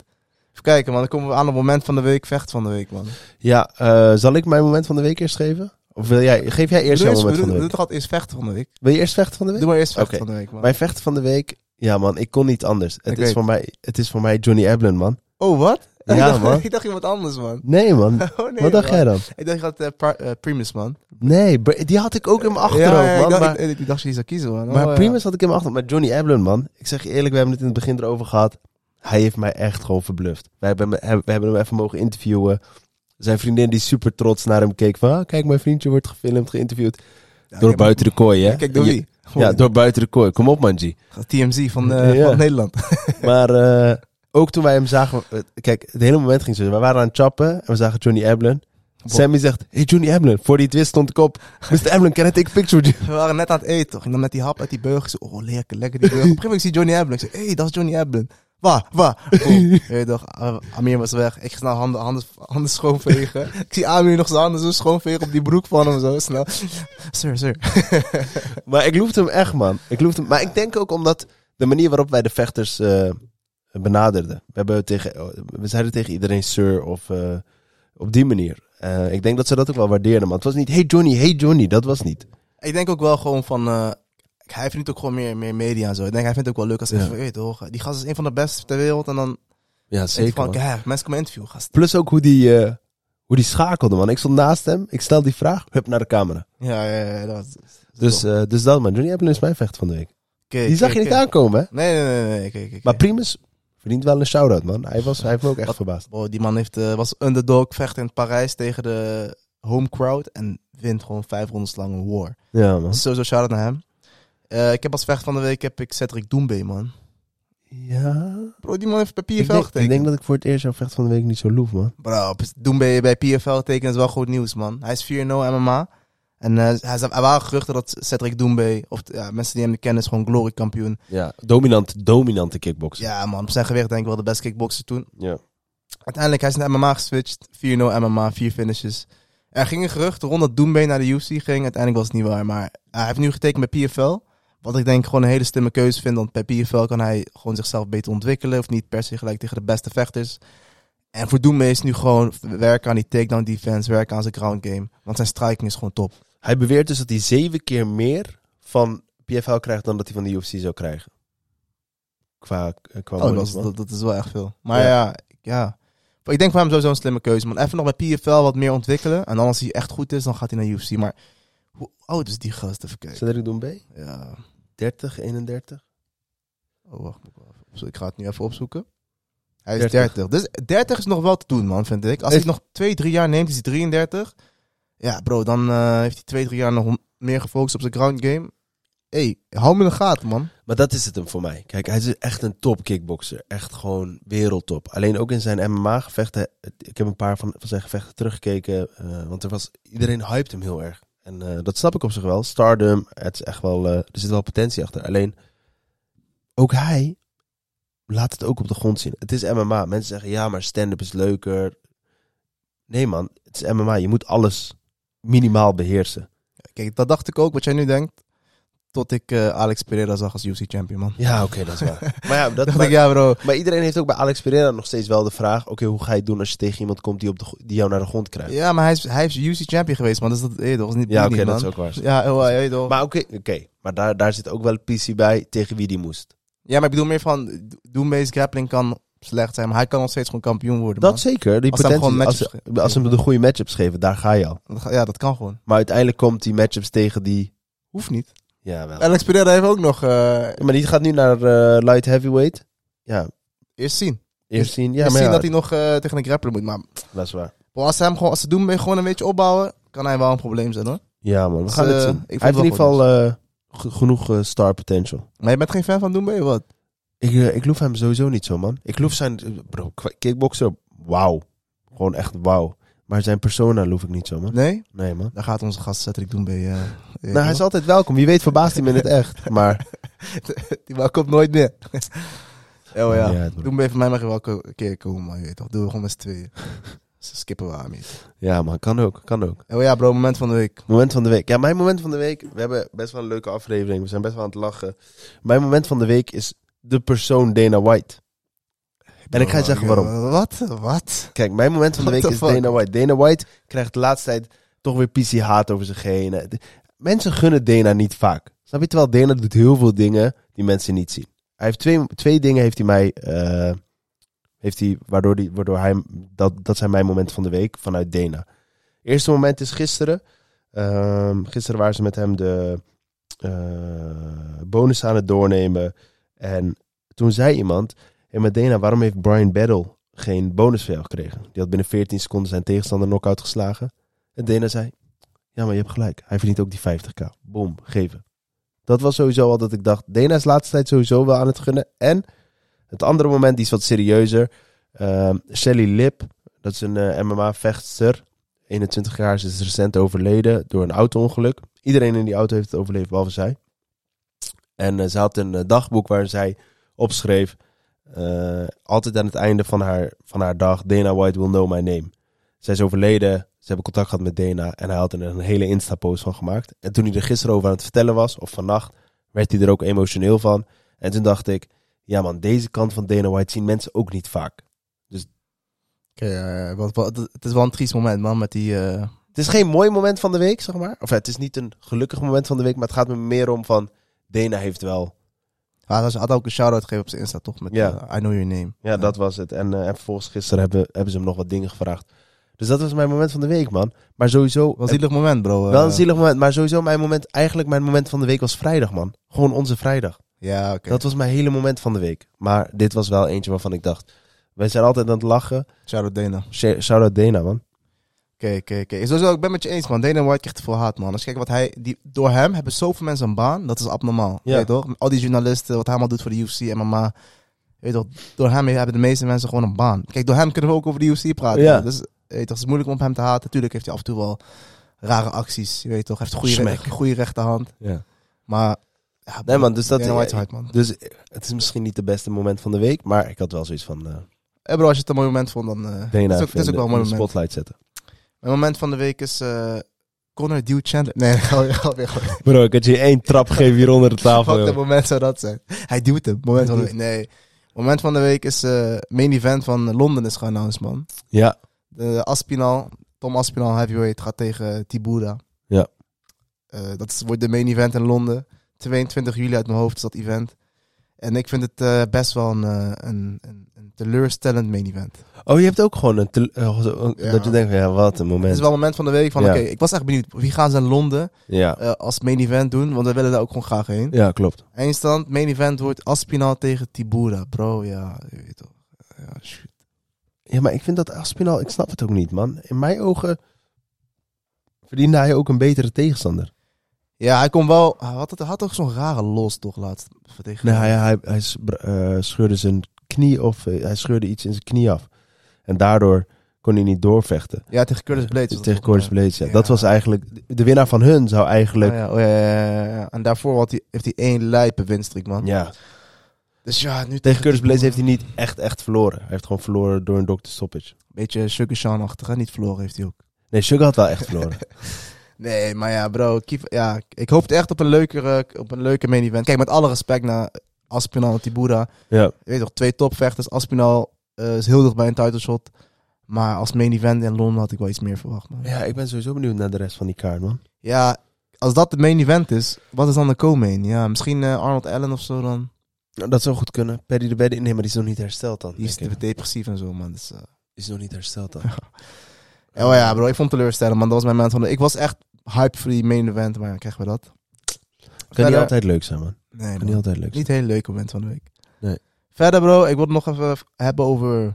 Speaker 4: Even kijken, man. Dan komen we aan het moment van de week. Vecht van de week, man.
Speaker 3: Ja, eh, zal ik mijn moment van de week eerst geven? Of wil jij, geef jij eerst
Speaker 4: Doe
Speaker 3: jouw moment
Speaker 4: eerst-
Speaker 3: van de
Speaker 4: doe- doe
Speaker 3: week?
Speaker 4: toch altijd eerst vechten van de week?
Speaker 3: Wil je eerst vechten van de week?
Speaker 4: Doe maar eerst vechten
Speaker 3: Oké.
Speaker 4: van de week, man.
Speaker 3: Mijn vechten van de week... Ja, man, ik kon niet anders. Het,
Speaker 4: Ik
Speaker 3: is
Speaker 4: weet.
Speaker 3: voor mij, het is voor mij Johnny Eblen, man.
Speaker 4: Oh, wat?
Speaker 3: Ja,
Speaker 4: ik dacht,
Speaker 3: man.
Speaker 4: Ik dacht iemand anders, man.
Speaker 3: Nee, man.
Speaker 4: Oh, nee,
Speaker 3: Wat dacht
Speaker 4: man.
Speaker 3: jij dan?
Speaker 4: Ik dacht dat eh Pri- eh, Primus, man.
Speaker 3: Nee, br- die had ik ook in mijn achterhoofd,
Speaker 4: ja, ja,
Speaker 3: man.
Speaker 4: Ik dacht,
Speaker 3: maar-
Speaker 4: ik, ik dacht je die zou kiezen, man.
Speaker 3: Maar
Speaker 4: Oh, ja.
Speaker 3: Primus had ik in mijn achter. Maar Johnny Eblen, man. Ik zeg je eerlijk, we hebben het in het begin erover gehad. Hij heeft mij echt gewoon verbluft. We hebben, hem- heb- we hebben hem even mogen interviewen. Zijn vriendin die super trots naar hem keek. Van, ah, kijk, mijn vriendje wordt gefilmd, geïnterviewd.
Speaker 4: Ja,
Speaker 3: Door
Speaker 4: kijk,
Speaker 3: buiten de kooi, hè?
Speaker 4: Kijk, door
Speaker 3: Je-
Speaker 4: wie?
Speaker 3: Ja, door buiten de kooi. Kom op, man, G.
Speaker 4: TMZ van, eh,
Speaker 3: Ja.
Speaker 4: van Nederland.
Speaker 3: Maar eh, ook toen wij hem zagen... eh, Kijk, het hele moment ging zo. We waren aan het chappen en we zagen Johnny Eblen. Sammy zegt, hey Johnny Eblen. Voor die twist stond ik op. Mr. Eblen, can I take a picture with you?
Speaker 4: We waren net aan het eten, toch? En dan met die hap uit die burger. Zo, oh, lekker, lekker die burger. Op een gegeven moment zie ik Johnny Eblen. Ik zeg, hé, hey, dat is Johnny Eblen. Waar, waar? Boom. Weet je toch, eh, Amir was weg. Ik ga snel handen, handen, handen schoonvegen. ik zie Amir nog zijn handen zo schoonvegen op die broek van hem. Zo snel. Sir, sir.
Speaker 3: Maar ik loefde hem echt, man. Ik loefde hem. Maar ik denk ook omdat de manier waarop wij de vechters eh, benaderden. We, hebben tegen, oh, we zeiden tegen iedereen sir of eh, op die manier. Eh, ik denk dat ze dat ook wel waardeerden, man. Het was niet hey Johnny, hey Johnny. Dat was niet.
Speaker 4: Ik denk ook wel gewoon van. eh, hij verdient ook gewoon meer, meer media en zo. Ik denk, hij vindt het ook wel leuk als
Speaker 3: Ja.
Speaker 4: hij van, weet toch, die gast is een van de beste ter wereld. En dan
Speaker 3: Ja,
Speaker 4: denkt hij van, kijk, mensen komen interviewen, gast.
Speaker 3: Plus ook hoe die, eh, Hoe die schakelde, man. Ik stond naast hem. Ik stel die vraag. Hup, naar de camera.
Speaker 4: Ja, ja, ja. Dat was,
Speaker 3: Dus, eh, dus dat, man. Johnny Appleton is mijn vecht van de week.
Speaker 4: Oké,
Speaker 3: Die zag
Speaker 4: oké,
Speaker 3: je niet
Speaker 4: oké.
Speaker 3: aankomen, hè?
Speaker 4: Nee, nee, nee. nee, nee. oké, oké,
Speaker 3: Maar
Speaker 4: oké.
Speaker 3: Primus verdient wel een shout-out, man. Hij, was, hij heeft me ook echt
Speaker 4: Wat-
Speaker 3: verbaasd.
Speaker 4: Wow, die man heeft, eh, was underdog, vecht in Parijs tegen de home crowd. En wint gewoon vijf rondes lang een war.
Speaker 3: Ja, man.
Speaker 4: Dus sowieso shout-out naar hem. Eh, ik heb als vecht van de week heb ik Cedric Doembe, man.
Speaker 3: Ja.
Speaker 4: Bro, die man heeft bij
Speaker 3: Ik
Speaker 4: PFL
Speaker 3: denk,
Speaker 4: getekend.
Speaker 3: ik denk dat ik voor het eerst jouw vecht van de week niet zo loef, man.
Speaker 4: Bro, doen bij, bij PFL tekenen is wel goed nieuws, man. Hij is 4-0 MMA. En eh, hij zei- er waren geruchten dat Cedric Doumbé, of ja, mensen die hem kennen, is gewoon glory kampioen.
Speaker 3: Ja. Dominant, dominante kickboxer.
Speaker 4: Ja man, op zijn gewicht denk ik wel de beste kickboxer toen.
Speaker 3: Ja.
Speaker 4: Uiteindelijk, hij is naar MMA geswitcht. 4-0 MMA, 4 finishes. Er ging een gerucht rond dat Doumbé naar de UFC ging. Uiteindelijk was het niet waar, maar hij heeft nu getekend bij PFL. Wat ik denk gewoon een hele slimme keuze vind, want bij PFL kan hij gewoon zichzelf beter ontwikkelen. Of niet per se gelijk tegen de beste vechters. En voor Doembe is nu gewoon werken aan die takedown defense, werken aan zijn ground game. Want zijn striking is gewoon top.
Speaker 3: Hij beweert dus dat hij zeven keer meer van PFL krijgt dan dat hij van de UFC zou krijgen. Qua, eh, qua
Speaker 4: Oh,
Speaker 3: monies,
Speaker 4: dat, is,
Speaker 3: man.
Speaker 4: dat, dat is wel echt veel. Maar
Speaker 3: Ja.
Speaker 4: ja, ja, Maar ik denk voor hem sowieso een slimme keuze. Man, even nog bij PFL wat meer ontwikkelen. En dan als hij echt goed is, dan gaat hij naar UFC. Maar hoe oud is die gast? Even kijken.
Speaker 3: Cedric Doumbé?
Speaker 4: Ja.
Speaker 3: 30, 31?
Speaker 4: Oh, wacht. moet ik wel even opzoeken. Ik ga het nu even opzoeken. Hij is
Speaker 3: 30.
Speaker 4: 30. Dus 30 is nog wel te doen, man, vind ik. Als hij
Speaker 3: Is-
Speaker 4: nog 2, 3 jaar neemt, is hij 33. Ja, bro, dan eh, heeft hij 2, 3 jaar nog meer gefocust op zijn ground game. hey, hou me in de gaten, man.
Speaker 3: Maar dat is het hem voor mij. Kijk, hij is echt een top kickboxer. Echt gewoon wereldtop. Alleen ook in zijn MMA-gevechten. Ik heb een paar van, van zijn gevechten teruggekeken. eh, want er was, iedereen hyped hem heel erg. En eh, dat snap ik op zich wel. Stardom, het is echt wel, eh, er zit wel potentie achter. Alleen, ook hij laat het ook op de grond zien. Het is MMA. Mensen zeggen, ja, maar stand-up is leuker. Nee man, het is MMA. Je moet alles minimaal beheersen.
Speaker 4: Kijk, dat dacht ik ook, wat jij nu denkt. Tot ik eh, Alex Pereira zag als UFC champion, man.
Speaker 3: Ja, oké, dat is waar. maar ja, dat,
Speaker 4: dacht
Speaker 3: maar-
Speaker 4: ik, ja, bro.
Speaker 3: Maar iedereen heeft ook bij Alex Pereira nog steeds wel de vraag: oké, hoe ga je het doen als je tegen iemand komt die, op de, gro- die jou naar de grond krijgt? Ja,
Speaker 4: Ja, maar hij is, hij is UFC champion geweest, man. Dus dat, hey, dat was niet
Speaker 3: oké,
Speaker 4: niet,
Speaker 3: dat is
Speaker 4: man.
Speaker 3: ook waar.
Speaker 4: Ja, oh, hey, toch.
Speaker 3: Maar oké, oké, maar daar, daar zit ook wel een PC bij tegen wie die moest.
Speaker 4: ja, maar ik bedoel meer van, Doombees grappling kan slecht zijn, maar hij kan nog steeds gewoon kampioen worden,
Speaker 3: Dat
Speaker 4: man.
Speaker 3: zeker. Die
Speaker 4: Als ze hem
Speaker 3: potentie,
Speaker 4: gewoon
Speaker 3: als,
Speaker 4: matchups
Speaker 3: ze- als ze hem de goede matchups geven, daar ga je al.
Speaker 4: Dat ga- Ja, dat kan gewoon.
Speaker 3: Maar uiteindelijk komt die matchups tegen die.
Speaker 4: Hoeft niet.
Speaker 3: Ja, wel.
Speaker 4: Alex Pereira heeft ook nog... eh,
Speaker 3: Ja, maar die gaat nu naar eh, light heavyweight. Ja,
Speaker 4: eerst zien.
Speaker 3: eerst zien. Ja,
Speaker 4: eerst
Speaker 3: maar
Speaker 4: zien
Speaker 3: ja,
Speaker 4: dat hij nog eh, tegen een grappler moet. Maar
Speaker 3: dat is waar.
Speaker 4: bro, als ze hem gewoon, als ze Doombees gewoon een beetje opbouwen, kan hij wel een probleem zijn, hoor.
Speaker 3: Ja, man, we
Speaker 4: Dus,
Speaker 3: gaan het
Speaker 4: eh,
Speaker 3: zien.
Speaker 4: ik vond
Speaker 3: Hij heeft in
Speaker 4: het
Speaker 3: ieder
Speaker 4: wel
Speaker 3: geval eh, ge- genoeg eh, star potential.
Speaker 4: Maar je bent geen fan van Doombees, wat?
Speaker 3: Ik, eh, ik loef hem sowieso niet zo, man. Ik loef zijn... eh, Bro, qua kickboxer, wauw. Gewoon echt wauw. Maar zijn persona loef ik niet zo, man.
Speaker 4: Nee?
Speaker 3: Nee, man.
Speaker 4: Daar gaat onze gast Cedric Doembe. eh
Speaker 3: Nou, hij is altijd welkom. Je weet verbaast hij me in het echt. Maar...
Speaker 4: Die man komt nooit meer. oh ja.
Speaker 3: Maakt niet uit, man.
Speaker 4: Doe me even mij mag je wel een keer komen, man. Je weet toch, doen we gewoon met z'n tweeën. Ze skippen we aan niet.
Speaker 3: Ja, man. Kan ook. Kan ook.
Speaker 4: Oh ja, bro, moment van de week.
Speaker 3: Moment van de week. Ja, mijn moment van de week... We hebben best wel een leuke aflevering. We zijn best wel aan het lachen. Mijn moment van de week is de persoon Dana White. En ik ga je zeggen waarom.
Speaker 4: eh, Wat? Wat?
Speaker 3: Kijk, mijn moment van de
Speaker 4: What
Speaker 3: week
Speaker 4: the
Speaker 3: is
Speaker 4: fuck?
Speaker 3: Dana White. Dana White krijgt de laatste tijd toch weer PC-haat over zich heen. De- Mensen gunnen Dana niet vaak. Snap je? Terwijl Dana doet heel veel dingen die mensen niet zien. Hij heeft twee, twee dingen heeft hij mij... eh, heeft hij, waardoor, die, waardoor hij... Dat, dat zijn mijn momenten van de week vanuit Dana. Eerste moment is gisteren. Ehm, gisteren waren ze met hem de eh, bonus aan het doornemen. En toen zei iemand... Hey, maar Dana, waarom heeft Brian Battle geen bonus voor jou gekregen? Die had binnen 14 seconden zijn tegenstander knock-out geslagen. En Dana zei, ja, maar je hebt gelijk. Hij verdient ook die 50k. Boom, geven. Dat was sowieso al dat ik dacht, Dana is laatste tijd sowieso wel aan het gunnen. En het andere moment, die is wat serieuzer. Ehm, Shelly Lip, dat is een eh, MMA-vechtster. 21 jaar, ze is recent overleden door een auto-ongeluk. Iedereen in die auto heeft het overleefd, behalve zij. En eh, ze had een eh, dagboek waar zij opschreef... Eh, altijd aan het einde van haar, van haar dag, Dana White will know my name. Zij is overleden, ze hebben contact gehad met Dana en hij had er een hele Insta-post van gemaakt. En toen hij er gisteren over aan het vertellen was, of vannacht, werd hij er ook emotioneel van. En toen dacht ik, ja man, deze kant van Dana White zien mensen ook niet vaak.
Speaker 4: Oké, ja, ja, wat- wat- het is wel een triest moment, man, met die... eh,
Speaker 3: Het is geen mooi moment van de week, zeg maar. Of ja, het is niet een gelukkig moment van de week, maar het gaat me meer om van, Dana heeft wel.
Speaker 4: Hij had- had ook een shout-out gegeven op zijn Insta, toch? Met
Speaker 3: Ja.
Speaker 4: eh, I Know Your Name.
Speaker 3: Ja, dat was het. En, eh, en vervolgens gisteren hebben, hebben ze hem nog wat dingen gevraagd. Dus Dus dat was mijn moment van de week, man. Maar sowieso...
Speaker 4: Wel een zielig moment, bro. eh.
Speaker 3: Wel een zielig moment, maar sowieso mijn moment... Eigenlijk mijn moment van de week was vrijdag, man. Gewoon onze vrijdag.
Speaker 4: Ja, oké.
Speaker 3: Dat was mijn hele moment van de week. Maar dit was wel eentje waarvan ik dacht... Wij zijn altijd aan het lachen.
Speaker 4: Shout-out Dana. Oké,
Speaker 3: Sh- Shout-out Dena, man.
Speaker 4: oké, oké. Sowieso, ik ben met je eens, man. Dana White krijgt te veel haat, man. Als je kijkt wat hij... Die, door hem hebben zoveel mensen een baan. Dat is abnormaal.
Speaker 3: Ja.
Speaker 4: Weet je toch? Al die journalisten, wat hij allemaal doet voor de UFC, MMA. Weet je toch? Door hem hebben de meeste mensen gewoon een baan. Kijk, door hem kunnen we ook over de UFC praten.
Speaker 3: Ja.
Speaker 4: Dus, weet je toch? Het is moeilijk om op hem te haten. Tuurlijk heeft hij af en toe wel rare acties. Je weet toch? Hij heeft goede,
Speaker 3: Smack.
Speaker 4: re- goede rechterhand.
Speaker 3: Ja.
Speaker 4: Maar... Ja,
Speaker 3: Nee, man, dus dat...
Speaker 4: Dana White is hard, man.
Speaker 3: Dus het is misschien niet de beste moment van de week, maar ik had wel zoiets van... eh
Speaker 4: Eh, bro, als je het een mooi moment vond, dan... eh,
Speaker 3: Dena
Speaker 4: het is ook,
Speaker 3: even
Speaker 4: het is ook
Speaker 3: in
Speaker 4: wel
Speaker 3: de-
Speaker 4: een mooi
Speaker 3: in de
Speaker 4: moment.
Speaker 3: spotlight zetten.
Speaker 4: Mijn moment van de week is eh Connor Dew Chandler. Nee, ga weer, ga weer. ga weer.
Speaker 3: Bro, ik had je één trap gegeven hier onder de tafel.
Speaker 4: Wat een
Speaker 3: joh.
Speaker 4: moment zou dat zijn? Hij duwt hem. Moment van de week. Nee. Moment van de week is eh main event van Londen is geannounced, man.
Speaker 3: Ja,
Speaker 4: De Aspinal, Tom Aspinal heavyweight gaat tegen Tibura.
Speaker 3: Ja.
Speaker 4: Eh, dat is, wordt de main event in Londen. 22 juli uit mijn hoofd is dat event. En ik vind het eh, best wel een, eh, een, een, een teleurstellend main event.
Speaker 3: Oh, je hebt ook gewoon een... tele- eh, zo- een-
Speaker 4: Ja.
Speaker 3: Dat je denkt, van, ja, wat een
Speaker 4: Het
Speaker 3: moment.
Speaker 4: is wel een moment van de week van,
Speaker 3: Ja.
Speaker 4: oké, ik was echt benieuwd. Wie gaan ze in Londen
Speaker 3: Ja.
Speaker 4: eh, als main event doen, want we willen daar ook gewoon graag heen.
Speaker 3: ja, klopt.
Speaker 4: Eindstand, main event wordt Aspinal tegen Tibura. Bro, ja, je weet toch. Ja, shoot.
Speaker 3: Ja, maar ik vind dat Aspinal... Ik snap het ook niet, man. In mijn ogen verdiende hij ook een betere tegenstander.
Speaker 4: ja hij kon wel... Hij had, het, hij had toch zo'n rare los toch laatst tegen...
Speaker 3: Nee, hij, hij, hij s- br- eh, scheurde zijn knie of... eh, hij scheurde iets in zijn knie af. En daardoor kon hij niet doorvechten.
Speaker 4: Ja, tegen Curtis Blades. was dat
Speaker 3: Tegen
Speaker 4: volgens
Speaker 3: Cordes
Speaker 4: mij.
Speaker 3: Blades, ja.
Speaker 4: Ja.
Speaker 3: Dat was eigenlijk... De winnaar van hun zou eigenlijk...
Speaker 4: Oh, ja, oh, ja, ja, ja, ja. En daarvoor had hij, heeft hij één lijpe winstreak, man.
Speaker 3: Oh, ja.
Speaker 4: Dus ja, nu
Speaker 3: Tegen Curtis
Speaker 4: Tibura.
Speaker 3: Blades heeft hij niet echt, echt verloren. Hij heeft gewoon verloren door een dokter stoppage.
Speaker 4: Beetje Sugar Sean-achtig, hè? Niet verloren heeft hij ook.
Speaker 3: Nee, Sugar had wel echt verloren.
Speaker 4: Nee, maar ja, bro. Kief, ja, ik hoopte echt op een, leukere, op een leuke main event. Kijk, met alle respect naar Aspinal en Tibura.
Speaker 3: ja.
Speaker 4: Je weet toch, twee topvechters. Aspinal eh, is heel dicht bij een title shot. Maar als main event in Londen had ik wel iets meer verwacht. Man.
Speaker 3: Ja, ik ben sowieso benieuwd naar de rest van die kaart, man.
Speaker 4: Ja, als dat de main event is, wat is dan de co-main? Ja, misschien eh, Arnold Allen of zo dan.
Speaker 3: Nou, dat zou goed kunnen. Paddy de Baddy, nee, maar die is nog niet hersteld dan.
Speaker 4: Die is
Speaker 3: denk ik.
Speaker 4: depressief en zo, man. Dus, eh.
Speaker 3: Die is nog niet hersteld dan.
Speaker 4: Ja, maar ja, bro, ik vond het teleurstellend, man. Dat was mijn moment van de... Ik was echt hype voor die main event, maar ja, krijgen we dat?
Speaker 3: Kan niet
Speaker 4: Verder-
Speaker 3: altijd leuk zijn, man.
Speaker 4: Nee,
Speaker 3: Kan
Speaker 4: man.
Speaker 3: niet altijd leuk zijn.
Speaker 4: Niet een heel leuk moment van de week.
Speaker 3: Nee.
Speaker 4: Verder, bro, ik wil het nog even hebben over.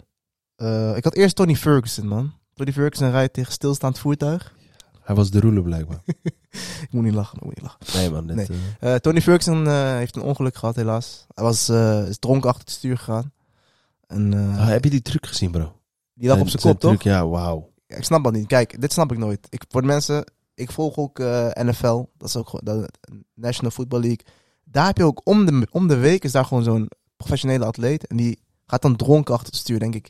Speaker 4: eh, ik had eerst Tony Ferguson, man. Tony Ferguson rijdt tegen stilstaand voertuig.
Speaker 3: Hij was de roelen blijkbaar.
Speaker 4: Ik moet niet lachen, ik moet niet lachen.
Speaker 3: Nee, man. Dit,
Speaker 4: Nee.
Speaker 3: eh,
Speaker 4: Eh, Tony Ferguson eh, heeft een ongeluk gehad, helaas. Hij was eh, is dronken achter het stuur gegaan. En, eh,
Speaker 3: Ah, heb je die truc gezien, bro?
Speaker 4: die lag op
Speaker 3: Zijn-
Speaker 4: zijn
Speaker 3: zijn
Speaker 4: kop, toch?
Speaker 3: truc, Ja, wauw.
Speaker 4: Ja, ik snap dat niet. Kijk, dit snap ik nooit. Ik, voor de mensen, ik volg ook eh, NFL. Dat is ook gewoon de National Football League. Daar heb je ook om de, om de week is daar gewoon zo'n professionele atleet. En die gaat dan dronken achter het stuur, denk ik.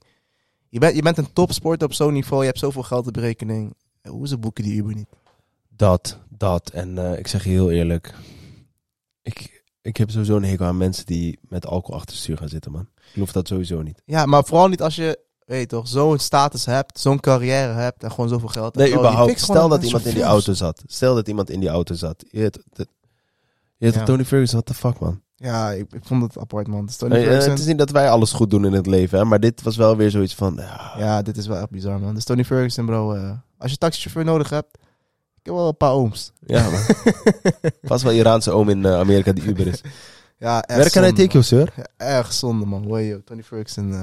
Speaker 4: Je bent, je bent een topsporter op zo'n niveau. Je hebt zoveel geld op de rekening. Eh, Hoe ze boeken die Uber niet?
Speaker 3: Dat, dat. En eh, ik zeg je heel eerlijk. Ik, ik heb sowieso een hekel aan mensen die met alcohol achter het stuur gaan zitten, man. Ik geloof dat sowieso niet.
Speaker 4: Ja, maar vooral niet als je, weet je toch, zo'n status hebt. Zo'n carrière hebt. En gewoon zoveel geld.
Speaker 3: Nee,
Speaker 4: hebt. Oh, die
Speaker 3: überhaupt.
Speaker 4: fixt gewoon
Speaker 3: Stel
Speaker 4: aan
Speaker 3: dat iemand in die
Speaker 4: chauffeurs.
Speaker 3: auto zat. Stel dat iemand in die auto zat. Je weet, dat- je weet
Speaker 4: Ja.
Speaker 3: toch, Tony Ferguson, what the fuck, man.
Speaker 4: Ja, ik, ik vond het apart, man. Dus Tony
Speaker 3: Nee, eh,
Speaker 4: Ferguson-
Speaker 3: het is niet dat wij alles goed doen in het leven, hè, maar dit was wel weer zoiets van. Ja,
Speaker 4: Ja, dit is wel echt bizar, man. Dus Tony Ferguson, bro. eh, als je taxichauffeur nodig hebt, ik heb wel een paar ooms.
Speaker 3: ja man. Pas wel Iraanse oom in eh, Amerika die Uber is.
Speaker 4: Ja, echt
Speaker 3: Werk aan
Speaker 4: zonde,
Speaker 3: het teken, sir.
Speaker 4: man. Erg zonde, man. Hoi, yo, Tony Ferguson. eh,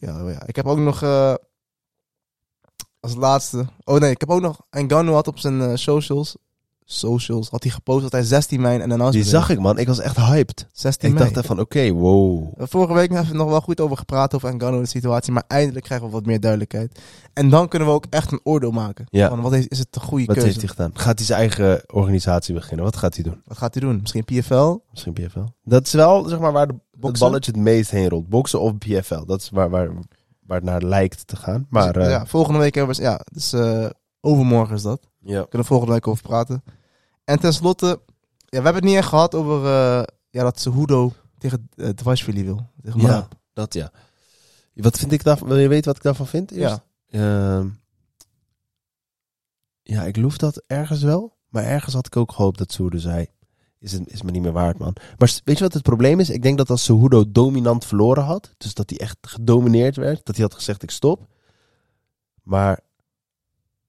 Speaker 4: ja, oh ja, ik heb ook nog... eh, als laatste... Oh nee, ik heb ook nog... Engano had op zijn eh, socials... Socials had hij gepost dat hij 16 mei en announcement
Speaker 3: Die
Speaker 4: heeft.
Speaker 3: zag ik, man. Ik was echt hyped.
Speaker 4: 16
Speaker 3: Ik
Speaker 4: mei.
Speaker 3: dacht echt van, oké, wow.
Speaker 4: We Eh, Vorige week hebben we nog wel goed over gepraat over Engano de situatie, maar eindelijk krijgen we wat meer duidelijkheid. En dan kunnen we ook echt een oordeel maken.
Speaker 3: Ja.
Speaker 4: Van, wat is, is het de goede
Speaker 3: Wat
Speaker 4: keuze?
Speaker 3: heeft hij gedaan? Gaat hij zijn eigen organisatie beginnen? Wat gaat hij doen?
Speaker 4: Wat gaat hij doen? Misschien PFL?
Speaker 3: Misschien PFL. Dat is wel, zeg maar, waar de het
Speaker 4: Boksen?
Speaker 3: balletje het meest heen rolt. Boksen of PFL. Dat is waar, waar, waar het naar lijkt te gaan. Maar
Speaker 4: Dus,
Speaker 3: eh,
Speaker 4: ja, volgende week hebben we... Ja, dus eh, overmorgen is dat. We
Speaker 3: ja.
Speaker 4: kunnen volgende week over praten. En tenslotte... Ja, we hebben het niet echt gehad over... eh, ja, dat Cejudo tegen uh, Dwashvili wil. Tegen
Speaker 3: Ja,
Speaker 4: Marab.
Speaker 3: dat ja. Wat vind ik daarvan? Wil je weten wat ik daarvan vind? eerst?
Speaker 4: Ja.
Speaker 3: Ehm, ja, ik loef dat ergens wel. Maar ergens had ik ook gehoopt dat Soerdo zei... Is, het, is me niet meer waard, man. Maar s- weet je wat het probleem is? Ik denk dat als Cejudo dominant verloren had... Dus dat hij echt gedomineerd werd. Dat hij had gezegd, ik stop. Maar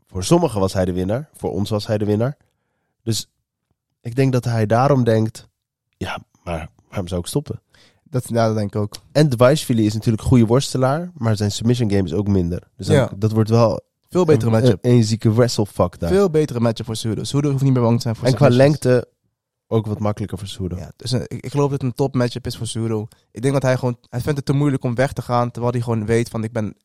Speaker 3: Voor sommigen was hij de winnaar. Voor ons was hij de winnaar. Dus ik denk dat hij daarom denkt... Ja, maar waarom zou ik stoppen?
Speaker 4: Dat, ja, dat denk ik ook.
Speaker 3: En Dwijsvili is natuurlijk een goede worstelaar. Maar zijn submission game is ook minder. Dus dan-
Speaker 4: Ja.
Speaker 3: dat wordt wel
Speaker 4: Veel betere
Speaker 3: een, een,
Speaker 4: matchup.
Speaker 3: een zieke wrestlefuck daar.
Speaker 4: Veel betere matchup voor Sudo. Sudo hoeft niet meer bang te zijn voor
Speaker 3: en qua
Speaker 4: submissions.
Speaker 3: lengte ook wat makkelijker voor Sudo.
Speaker 4: Ja, dus een- ik, ik geloof dat het een top matchup is voor Sudo. Ik denk dat hij gewoon... Hij vindt het te moeilijk om weg te gaan, terwijl hij gewoon weet van ik ben...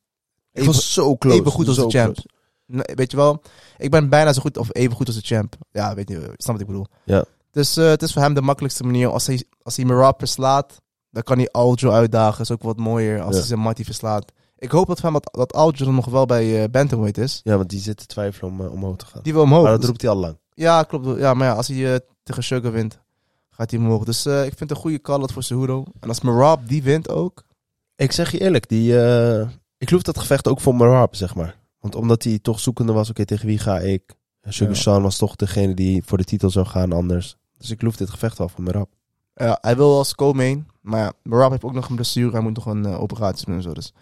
Speaker 3: ik was zo close.
Speaker 4: even goed als
Speaker 3: zo
Speaker 4: de champ.
Speaker 3: close.
Speaker 4: Nee, weet je wel, ik ben bijna zo goed of even goed als de champ. Ja, weet je, snap je wat ik bedoel.
Speaker 3: Ja.
Speaker 4: Dus eh, het is voor hem de makkelijkste manier. Als hij, als hij Merab verslaat, dan kan hij Aljo uitdagen. Is ook wat mooier als
Speaker 3: Ja.
Speaker 4: hij zijn Matty verslaat. Ik hoop dat, van dat, dat Aljo er nog wel bij eh Bantamweight is.
Speaker 3: Ja, want die zit te twijfelen om eh, omhoog te gaan.
Speaker 4: Die wil omhoog.
Speaker 3: maar dat
Speaker 4: Dus-
Speaker 3: roept hij al lang.
Speaker 4: ja, klopt. Ja, maar ja, als hij eh, tegen Sugar wint, gaat hij omhoog. Dus eh, ik vind het een goede call out voor Cejudo. En als Merab die wint ook.
Speaker 3: Ik zeg je eerlijk, die, eh, ik geloof dat gevecht ook voor Marab, zeg maar. Want omdat hij toch zoekende was, oké, tegen wie ga ik? En Sugar
Speaker 4: Ja.
Speaker 3: Sean was toch degene die voor de titel zou gaan anders. Dus ik geloof dit gevecht wel voor Marab.
Speaker 4: Ja, eh, hij wil als co-main. Maar ja, Merab heeft ook nog een blessure. Hij moet nog een eh, operatie doen en zo. Dus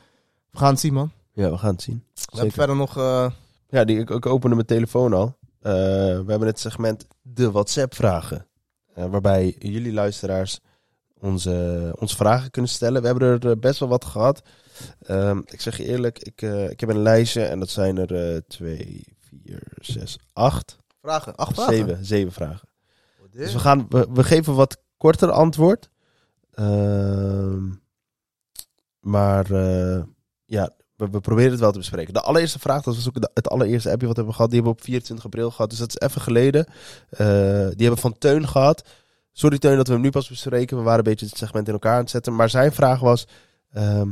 Speaker 4: we gaan het zien, man.
Speaker 3: Ja, we gaan het zien.
Speaker 4: We hebben verder nog... eh,
Speaker 3: Ja, die, ik, ik opende mijn telefoon al. Eh, we hebben het segment de WhatsApp-vragen. Eh, waarbij jullie luisteraars onze, ons vragen kunnen stellen. We hebben er eh, best wel wat gehad. Ehm, ik zeg je eerlijk, ik, eh, ik heb een lijstje en dat zijn er eh, twee, vier, zes, acht.
Speaker 4: vragen. Acht vragen.
Speaker 3: Zeven, zeven vragen.
Speaker 4: Wat dit?
Speaker 3: Dus we, gaan, we, we geven wat korter antwoord. Ehm, maar eh, ja, we, we proberen het wel te bespreken. De allereerste vraag, dat was ook de- het allereerste appje wat we hebben gehad. Die hebben we op 24 april gehad, dus dat is even geleden. Eh, die hebben we van Teun gehad. Sorry Teun dat we hem nu pas bespreken. We waren een beetje het segment in elkaar aan het zetten. Maar zijn vraag was... ehm,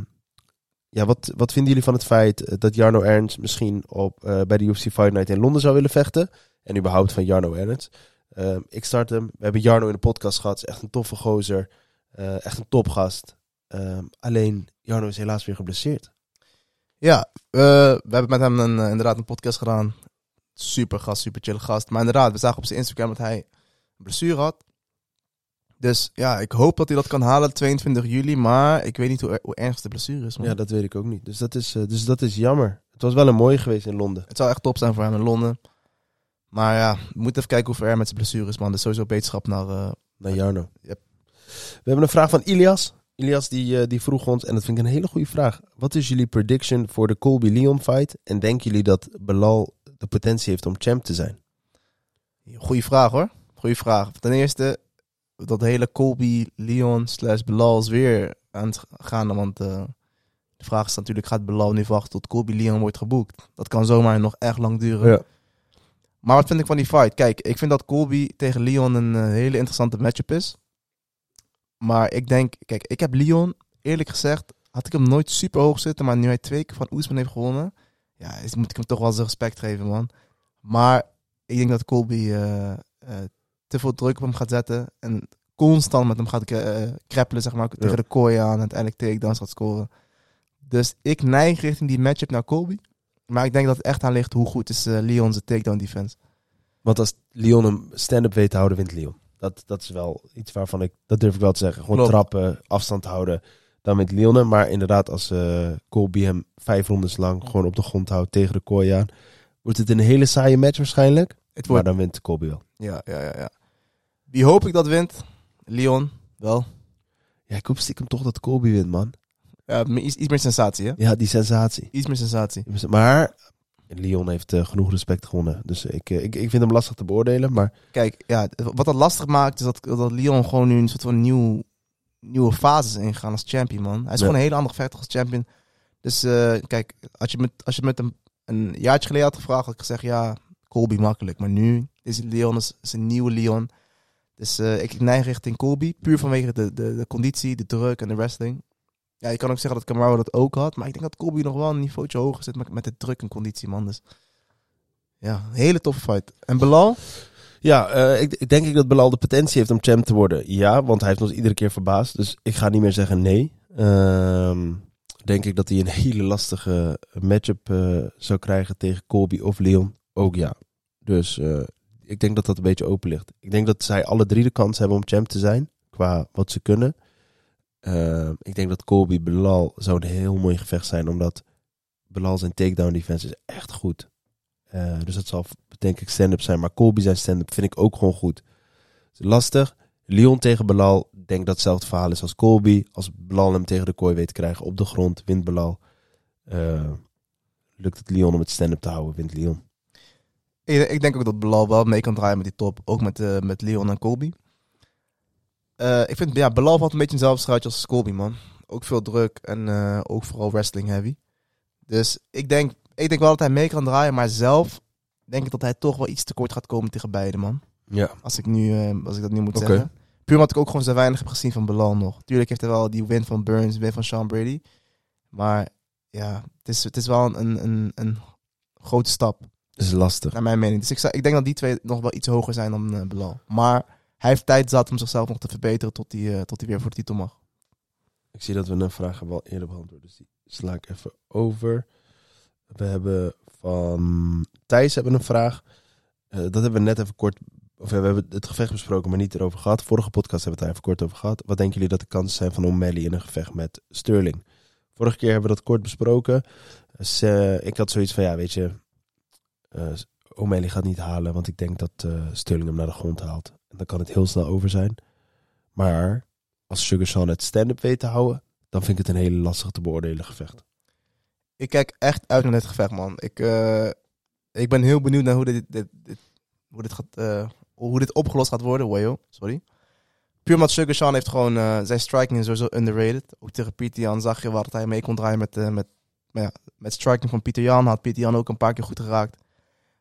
Speaker 3: ja, wat, wat vinden jullie van het feit eh, dat Jarno Ernst misschien op, eh, bij de UFC Fight Night in Londen zou willen vechten? En überhaupt van Jarno Ernst. Ehm, ik start hem. We hebben Jarno in de podcast gehad. Is echt een toffe gozer. Eh, echt een topgast. Ehm, alleen, Jarno is helaas weer geblesseerd.
Speaker 4: Ja, eh, we hebben met hem een, eh, inderdaad een podcast gedaan. Super gast, super chill gast. Maar inderdaad, we zagen op zijn Instagram dat hij een blessure had. Dus ja, ik hoop dat hij dat kan halen 22 juli. Maar ik weet niet hoe, er- hoe ernstig de blessure is. Man.
Speaker 3: Ja, dat weet ik ook niet. Dus dat is, eh, dus dat is jammer. Het was wel een mooie geweest in Londen.
Speaker 4: Het zou echt top zijn voor hem in Londen. Maar ja, we moeten even kijken hoe ver hij met zijn blessure is, man. Dus sowieso beterschap naar... eh,
Speaker 3: Naar Jarno.
Speaker 4: Yep.
Speaker 3: We hebben een vraag van Ilias. Ilias die, eh, die vroeg ons, en dat vind ik een hele goede vraag. Wat is jullie prediction voor de Colby-Leon fight? En denken jullie dat Belal de potentie heeft om champ te zijn?
Speaker 4: Goeie vraag hoor. Goeie vraag. Ten eerste, dat hele Colby, Leon slash Belal is weer aan het gaan. Want eh, de vraag is natuurlijk, gaat Belal nu wachten tot Colby, Leon wordt geboekt? Dat kan zomaar nog echt lang duren.
Speaker 3: Ja.
Speaker 4: Maar wat vind ik van die fight? Kijk, ik vind dat Colby tegen Leon een eh, hele interessante matchup is. Maar ik denk, kijk, ik heb Leon, eerlijk gezegd, had ik hem nooit super hoog zitten. Maar nu hij twee keer van Oesman heeft gewonnen, ja, is- moet ik hem toch wel zijn respect geven, man. Maar ik denk dat Colby eh, eh, te veel druk op hem gaat zetten. En constant met hem gaat eh, kreppelen, zeg maar. Tegen de kooi aan. En uiteindelijk takedowns gaat scoren. Dus ik neig richting die matchup naar Colby. Maar ik denk dat het echt aan ligt hoe goed is eh, Leon zijn takedown defense.
Speaker 3: Want als Leon hem stand-up weet te houden, wint Leon. Dat, dat is wel iets waarvan ik, dat durf ik wel te zeggen. Gewoon
Speaker 4: Klopt.
Speaker 3: trappen, afstand houden, dan wint Leon. hem. Maar inderdaad, als eh Colby hem vijf rondes lang gewoon op de grond houdt tegen de kooi aan, wordt het een hele saaie match waarschijnlijk.
Speaker 4: Het
Speaker 3: Maar
Speaker 4: wordt...
Speaker 3: dan wint Colby wel.
Speaker 4: Ja, ja, ja, ja. Wie hoop ik dat wint? Leon, wel.
Speaker 3: Ja, ik hoop stiekem toch dat Colby wint, man.
Speaker 4: Ja, me- iets, iets meer sensatie, hè?
Speaker 3: Ja, die sensatie.
Speaker 4: Iets meer sensatie.
Speaker 3: Maar Leon heeft eh, genoeg respect gewonnen. Dus ik, eh, ik, ik vind hem lastig te beoordelen. Maar
Speaker 4: Kijk, ja, wat dat lastig maakt is dat, dat Leon gewoon nu een soort van nieuw, nieuwe fase is ingegaan als champion, man. Hij is
Speaker 3: Ja.
Speaker 4: gewoon een hele andere vechter als champion. Dus eh, kijk, als je, met, als je met hem een jaartje geleden had gevraagd, had ik gezegd, ja, Colby makkelijk. Maar nu is het Leon is, is een nieuwe Leon. Dus eh, ik neig richting Colby, puur vanwege de, de, de conditie, de druk en de wrestling. Ja, je kan ook zeggen dat Camaro dat ook had, maar ik denk dat Colby nog wel een niveautje hoger zit met, met de druk en conditie, man. Dus ja, een hele toffe fight. En Belal?
Speaker 3: Ja, eh, ik, ik denk ik dat Belal de potentie heeft om champ te worden. Ja, want hij heeft ons iedere keer verbaasd. Dus ik ga niet meer zeggen nee. Ehm, denk ik dat hij een hele lastige matchup eh, zou krijgen tegen Colby of Leon. Ook ja. Dus eh, ik denk dat dat een beetje open ligt. Ik denk dat zij alle drie de kans hebben om champ te zijn. Qua wat ze kunnen. Ehm, ik denk dat Colby Belal zou een heel mooi gevecht zijn. Omdat Belal zijn takedown defense is echt goed. Eh, dus dat zal denk ik stand-up zijn. Maar Colby zijn stand-up vind ik ook gewoon goed. Is Lastig. Lyon tegen Belal. Denk dat hetzelfde verhaal is als Colby. Als Belal hem tegen de kooi weet te krijgen op de grond, wint Belal. Eh, lukt het Lyon om het stand-up te houden, wint Lyon.
Speaker 4: Ik, ik denk ook dat Belal wel mee kan draaien met die top. Ook met, eh, met Leon en Colby. Eh, ik vind, ja, Belal valt een beetje in hetzelfde straatje als Colby, man. Ook veel druk en eh, ook vooral wrestling heavy. Dus ik denk, ik denk wel dat hij mee kan draaien, maar zelf denk ik dat hij toch wel iets tekort gaat komen tegen beide, man.
Speaker 3: Ja.
Speaker 4: Als ik, nu, eh, als ik dat nu moet
Speaker 3: Oké.
Speaker 4: zeggen. Puur omdat ik ook gewoon zo weinig heb gezien van Belal nog. Tuurlijk heeft hij wel die win van Burns, win van Sean Brady. Maar ja, het is, het is wel een, een, een grote stap.
Speaker 3: Dat is lastig.
Speaker 4: Naar mijn mening. Dus ik, zou, ik denk dat die twee nog wel iets hoger zijn dan eh, Belal. Maar hij heeft tijd zat om zichzelf nog te verbeteren tot hij, eh, tot hij weer voor de titel mag.
Speaker 3: Ik zie dat we een vraag hebben al eerder beantwoord. Dus die sla ik even over. We hebben van Thijs hebben een vraag. Eh, dat hebben we net even kort. Of ja, we hebben het gevecht besproken, maar niet erover gehad. Vorige podcast hebben we het daar even kort over gehad. Wat denken jullie dat de kansen zijn van O'Malley in een gevecht met Sterling? Vorige keer hebben we dat kort besproken. Dus, eh, ik had zoiets van, ja, weet je. eh O'Malley gaat niet halen, want ik denk dat eh, Sterling hem naar de grond haalt. En dan kan het heel snel over zijn. Maar als Sugar Sean het stand-up weet te houden, dan vind ik het een hele lastig te beoordelen gevecht.
Speaker 4: Ik kijk echt uit naar dit gevecht, man. Ik, eh, ik ben heel benieuwd naar hoe dit, dit, dit- hoe dit, gaat, eh, hoe dit opgelost gaat worden. Wayo, sorry. Puur omdat Sugar Sean heeft gewoon... eh, zijn striking is sowieso underrated. Ook tegen Pieter Jan zag je wel dat hij mee kon draaien met, eh, met, maar ja, met striking van Pieter Jan. Had Pieter Jan ook een paar keer goed geraakt.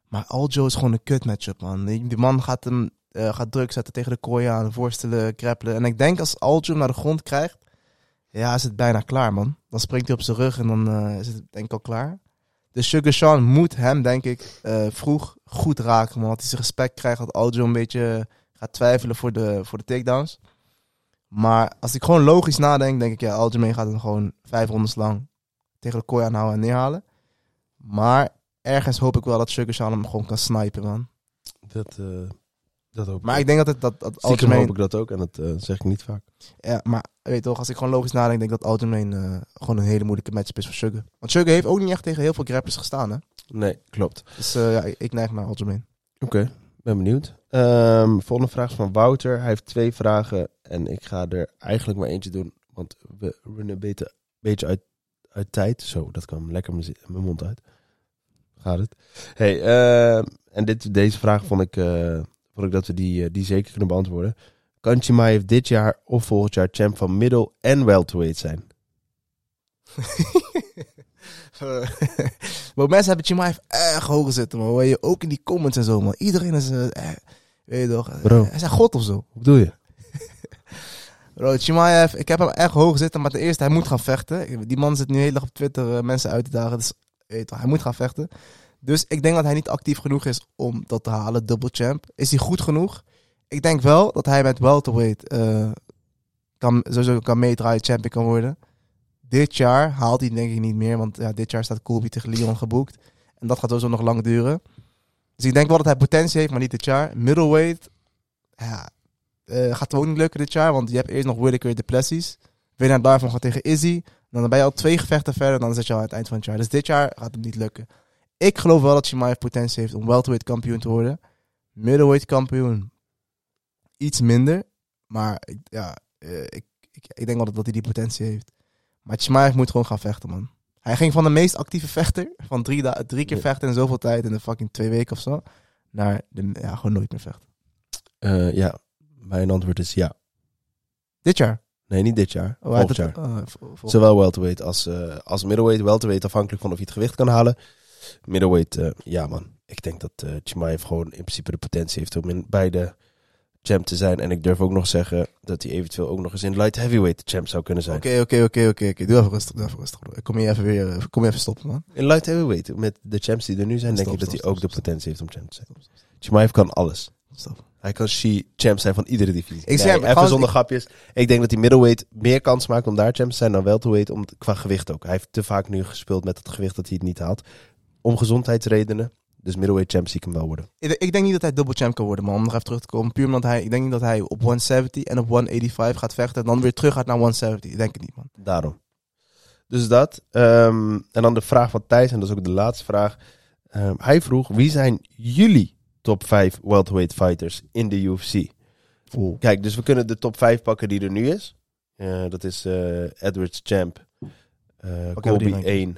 Speaker 4: Maar Aljo is gewoon een kut matchup, man. Die, die man gaat, hem, eh, gaat druk zetten tegen de kooi aan, voorstellen, grappelen. En ik denk als Aljo hem naar de grond krijgt... Ja, is het bijna klaar, man. Dan springt hij op zijn rug en dan eh, is het denk ik al klaar. Dus Sugar Sean moet hem, denk ik, eh, vroeg goed raken, man. Dat hij zijn respect krijgt, dat Aljo een beetje gaat twijfelen voor de, voor de takedowns. Maar als ik gewoon logisch nadenk, denk ik, ja, Aljo mee gaat hem gewoon vijf rondes lang tegen de kooi aanhouden en neerhalen. Maar ergens hoop ik wel dat Sugar Sean hem gewoon kan snipen, man.
Speaker 3: Dat, eh, dat hoop
Speaker 4: Maar ik denk dat het, dat, dat
Speaker 3: Stiekem
Speaker 4: Aljamain-
Speaker 3: hoop ik dat ook en dat eh, zeg ik niet vaak.
Speaker 4: Ja, maar weet je toch, als ik gewoon logisch nadenk, denk ik dat Algemeen eh, gewoon een hele moeilijke matchup is voor Sugar. Want Sugar heeft ook niet echt tegen heel veel grapplers gestaan, hè?
Speaker 3: Nee, klopt.
Speaker 4: Dus eh, ja, ik, ik neig naar Algemeen.
Speaker 3: Oké, ben benieuwd. Ehm, volgende vraag is van Wouter. Hij heeft twee vragen en ik ga er eigenlijk maar eentje doen, want we runnen een beetje, beetje uit, uit tijd. Zo, dat kwam lekker mijn zi- mijn mond uit. Gaat het? Hey, ehm, en dit, deze vraag vond ik, eh, vond ik dat we die, eh, die zeker kunnen beantwoorden. Kan Chimaev dit jaar of volgend jaar champ van middle en welterweight zijn?
Speaker 4: Eh, maar mensen hebben Chimaev erg hoog zitten, man. Hoor je ook in die comments en zo, man. Iedereen is, eh, eh, weet je toch, eh,
Speaker 3: Bro.
Speaker 4: hij is echt god of zo.
Speaker 3: Wat bedoel je?
Speaker 4: Bro, Chimaev, ik heb hem echt hoog zitten, maar ten eerste, hij moet gaan vechten. Die man zit nu de hele dag op Twitter eh, mensen uit te dagen, dus weet je toch, hij moet gaan vechten. Dus ik denk dat hij niet actief genoeg is om dat te halen, double champ. Is hij goed genoeg? Ik denk wel dat hij met welterweight eh kan, sowieso kan meedraaien, champion kan worden. Dit jaar haalt hij het denk ik niet meer, want ja, dit jaar staat Colby tegen Lyon geboekt. En dat gaat sowieso nog lang duren. Dus ik denk wel dat hij potentie heeft, maar niet dit jaar. Middleweight ja, eh, gaat het ook niet lukken dit jaar, want je hebt eerst nog Whittaker de Plessis. Winnaar daarvan gaat tegen Izzy. Dan ben je al twee gevechten verder, dan zit je al aan het eind van het jaar. Dus dit jaar gaat het niet lukken. Ik geloof wel dat Shimaev potentie heeft om welterweight kampioen te worden. Middleweight kampioen iets minder. Maar ik- ja, eh, ik, ik, ik denk wel dat hij die potentie heeft. Maar Chimaev moet gewoon gaan vechten, man. Hij ging van de meest actieve vechter, van drie, da- drie keer
Speaker 3: Ja.
Speaker 4: vechten in zoveel tijd, in de fucking twee weken of zo, naar de, ja, gewoon nooit meer vechten.
Speaker 3: Eh, ja, mijn antwoord is ja.
Speaker 4: Dit jaar.
Speaker 3: Nee, niet dit jaar.
Speaker 4: Oh, hij had
Speaker 3: volgend jaar.
Speaker 4: het- oh, vol- vol-
Speaker 3: Zowel welterweight als, eh, als middleweight. Welterweight afhankelijk van of je het gewicht kan halen. Middleweight, eh, ja man. Ik denk dat eh Chimaev gewoon in principe de potentie heeft om in beide champ te zijn. En ik durf ook nog zeggen dat hij eventueel ook nog eens in light heavyweight de champ zou kunnen zijn.
Speaker 4: Oké, oké, oké, oké. oké. Doe even rustig, doe even rustig. broer. Ik kom je even weer, eh, kom je even stoppen, man.
Speaker 3: In light heavyweight, met de champs die er nu zijn, denk
Speaker 4: Stop,
Speaker 3: ik dat
Speaker 4: stop,
Speaker 3: hij ook
Speaker 4: stop,
Speaker 3: de
Speaker 4: stop.
Speaker 3: potentie heeft om champ te zijn.
Speaker 4: Stop, stop,
Speaker 3: Chimaev kan alles.
Speaker 4: stop.
Speaker 3: Hij kan she champ zijn van iedere divisie.
Speaker 4: Ik zeg,
Speaker 3: Nee,
Speaker 4: maar
Speaker 3: even
Speaker 4: gewoon-
Speaker 3: zonder grapjes. Ik denk dat hij middleweight meer kans maakt om daar champ te zijn dan welterweight om, qua gewicht ook. Hij heeft te vaak nu gespeeld met het gewicht dat hij het niet haalt. Om gezondheidsredenen. Dus middleweight champ zie ik hem wel worden.
Speaker 4: Ik, ik denk niet dat hij double champ kan worden, man. Om nog even terug te komen. Puur omdat hij, ik denk niet dat hij op 170 en op 185 gaat vechten. En dan weer terug gaat naar 170. Ik denk het niet, man.
Speaker 3: Daarom. Dus dat. Ehm, en dan de vraag van Thijs, en dat is ook de laatste vraag. Ehm, hij vroeg, wie zijn jullie top 5 welterweight fighters in de UFC? Kijk, dus we kunnen de top 5 pakken die er nu is. Eh, dat is eh, Edwards Champ. eh
Speaker 4: Pak even die
Speaker 3: Colby
Speaker 4: rankings.
Speaker 3: 1.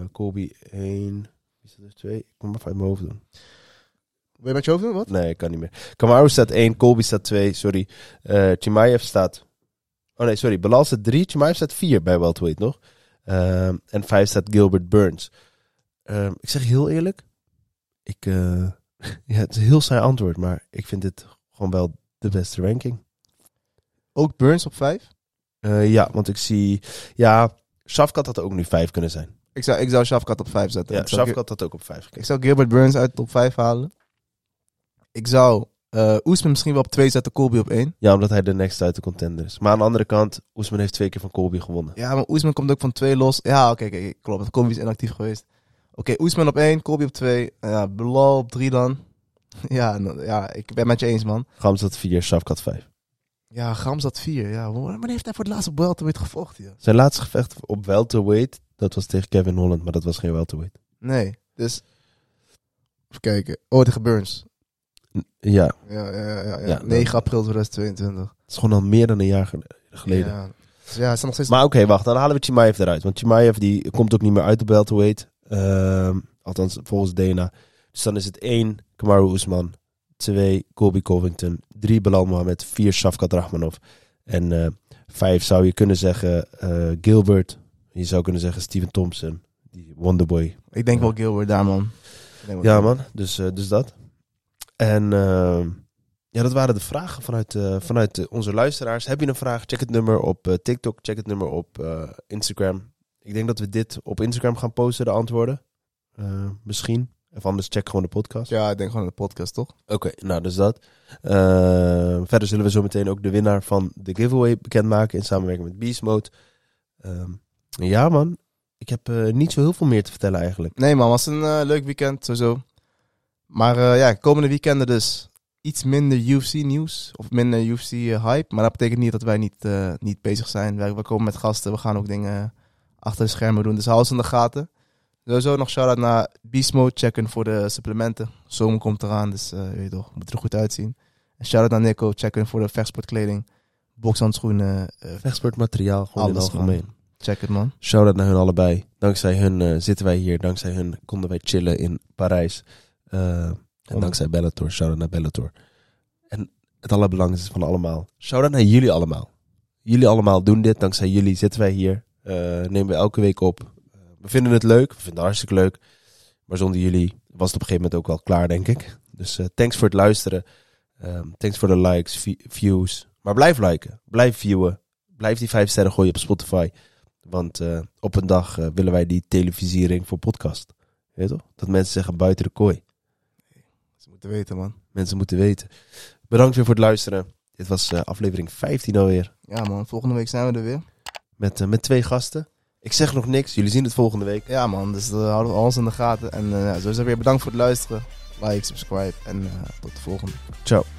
Speaker 3: Eh Colby 1. Is dat er 2? Ik moet maar even uit mijn hoofd doen.
Speaker 4: Wil je met je hoofd doen? Wat?
Speaker 3: Nee, ik kan niet meer. Kamaru staat 1, Colby staat 2, sorry. Eh Chimaev staat... Oh nee, sorry. Belal staat 3, Chimaev staat 4 bij welterweight nog. Ehm, en 5 staat Gilbert Burns. Ehm, ik zeg heel eerlijk. Ik, eh, ja, het is een heel saai antwoord, maar ik vind dit gewoon wel de beste ranking.
Speaker 4: Ook Burns op 5?
Speaker 3: Eh, ja, want ik zie... Ja, Shafkat had ook nu 5 kunnen zijn.
Speaker 4: Ik zou, ik zou Shafkat op 5 zetten.
Speaker 3: Ja,
Speaker 4: ik, zou,
Speaker 3: Shafkat had ook op 5
Speaker 4: ik
Speaker 3: gekregen.
Speaker 4: zou Gilbert Burns uit de top 5 halen. Ik zou eh Oesman misschien wel op 2 zetten, Colby op 1.
Speaker 3: Ja, omdat hij de next uit de contender is. Maar aan de andere kant, Oesman heeft twee keer van Colby gewonnen.
Speaker 4: Ja, maar Oesman komt ook van 2 los. Ja, oké, oké, klopt. Colby is inactief geweest. Oké, Oesman op 1, Colby op 2. Ja, Belal op 3 dan. Ja, nou, ja, ik ben met je eens, man.
Speaker 3: Gamzat 4, Shafkat 5.
Speaker 4: Ja, Gramzat 4. Ja, wanneer heeft hij voor het laatste op welterweight gevochten? joh?
Speaker 3: Zijn laatste gevecht op welterweight, dat was tegen Kevin Holland, maar dat was geen welterweight.
Speaker 4: Nee, dus... Even kijken. Oh, tegen Burns.
Speaker 3: N- Ja, het
Speaker 4: Ja, ja, ja. ja, ja.
Speaker 3: Ja,
Speaker 4: 9 april 2022.
Speaker 3: is gewoon al meer dan een jaar gel- geleden.
Speaker 4: Ja, Dus ja, het is nog steeds...
Speaker 3: Maar oké, wacht, dan halen we Chimaev eruit. Want Chimaev die komt ook niet meer uit de welterweight. Ehm, althans, volgens Dana. Dus dan is het 1, Kamaru Usman. 2, Colby Covington. 3, Belal Mohamed. 4, Shafkat Rahmanov. En eh 5 zou je kunnen zeggen eh, Gilbert. Je zou kunnen zeggen Steven Thompson. Die Wonderboy
Speaker 4: Ik denk wel Gilbert daar, man. Ik denk wel
Speaker 3: Ja,
Speaker 4: Gilbert.
Speaker 3: man. Dus, eh, dus dat. En ehm, ja, dat waren de vragen vanuit, eh, vanuit eh, onze luisteraars. Heb je een vraag? Check het nummer op eh, TikTok. Check het nummer op eh, Instagram. Ik denk dat we dit op Instagram gaan posten, de antwoorden. Eh, misschien. Of anders check gewoon de podcast.
Speaker 4: Ja, ik denk gewoon de podcast, toch?
Speaker 3: Oké, nou, dus dat. Eh, verder zullen we zo meteen ook de winnaar van de giveaway bekendmaken in samenwerking met Beast Mode. Ehm, ja, man. Ik heb eh, niet zo heel veel meer te vertellen eigenlijk.
Speaker 4: Nee, man. was een eh, leuk weekend, sowieso. Maar eh, ja, komende weekenden dus iets minder UFC-nieuws. Of minder UFC-hype. eh, Maar dat betekent niet dat wij niet, eh, niet bezig zijn. Wij, we komen met gasten. We gaan ook dingen achter de schermen doen. Dus hou ons in de gaten. Sowieso nog shout-out naar Beast Mode checken voor de supplementen. Zomer komt eraan, dus eh weet je toch, moet er goed uitzien. En shout-out naar Nico checken voor de vechtsportkleding. Bokshandschoenen, eh,
Speaker 3: Vechtsportmateriaal, gewoon
Speaker 4: Alles,
Speaker 3: in het algemeen.
Speaker 4: check het man.
Speaker 3: Shout-out naar hun allebei. Dankzij hun eh, zitten wij hier. Dankzij hun konden wij chillen in Parijs. Eh, en
Speaker 4: Om-
Speaker 3: dankzij Bellator. Shout-out naar Bellator. En het allerbelangrijkste van allemaal. Shout-out naar jullie allemaal. Jullie allemaal doen dit. Dankzij jullie zitten wij hier. Eh, nemen we elke week op. Eh, we vinden het leuk. We vinden het hartstikke leuk. Maar zonder jullie was het op een gegeven moment ook wel klaar, denk ik. Dus eh, thanks voor het luisteren. Ehm, thanks voor de likes, vi- views. Maar blijf liken. Blijf viewen. Blijf die vijf sterren gooien op Spotify. Want eh, op een dag eh, willen wij die televisiering voor podcast. Weet je toch? Dat mensen zeggen buiten de kooi.
Speaker 4: Ze moeten weten man.
Speaker 3: Mensen moeten weten. Bedankt weer voor het luisteren. Dit was eh, aflevering 15 alweer.
Speaker 4: Ja man, volgende week zijn we er weer.
Speaker 3: Met, eh, met twee gasten. Ik zeg nog niks. Jullie zien het volgende week.
Speaker 4: Ja man, dus eh, houden we alles in de gaten. En eh, ja, sowieso weer bedankt voor het luisteren. Like, subscribe en eh, tot de volgende.
Speaker 3: Ciao.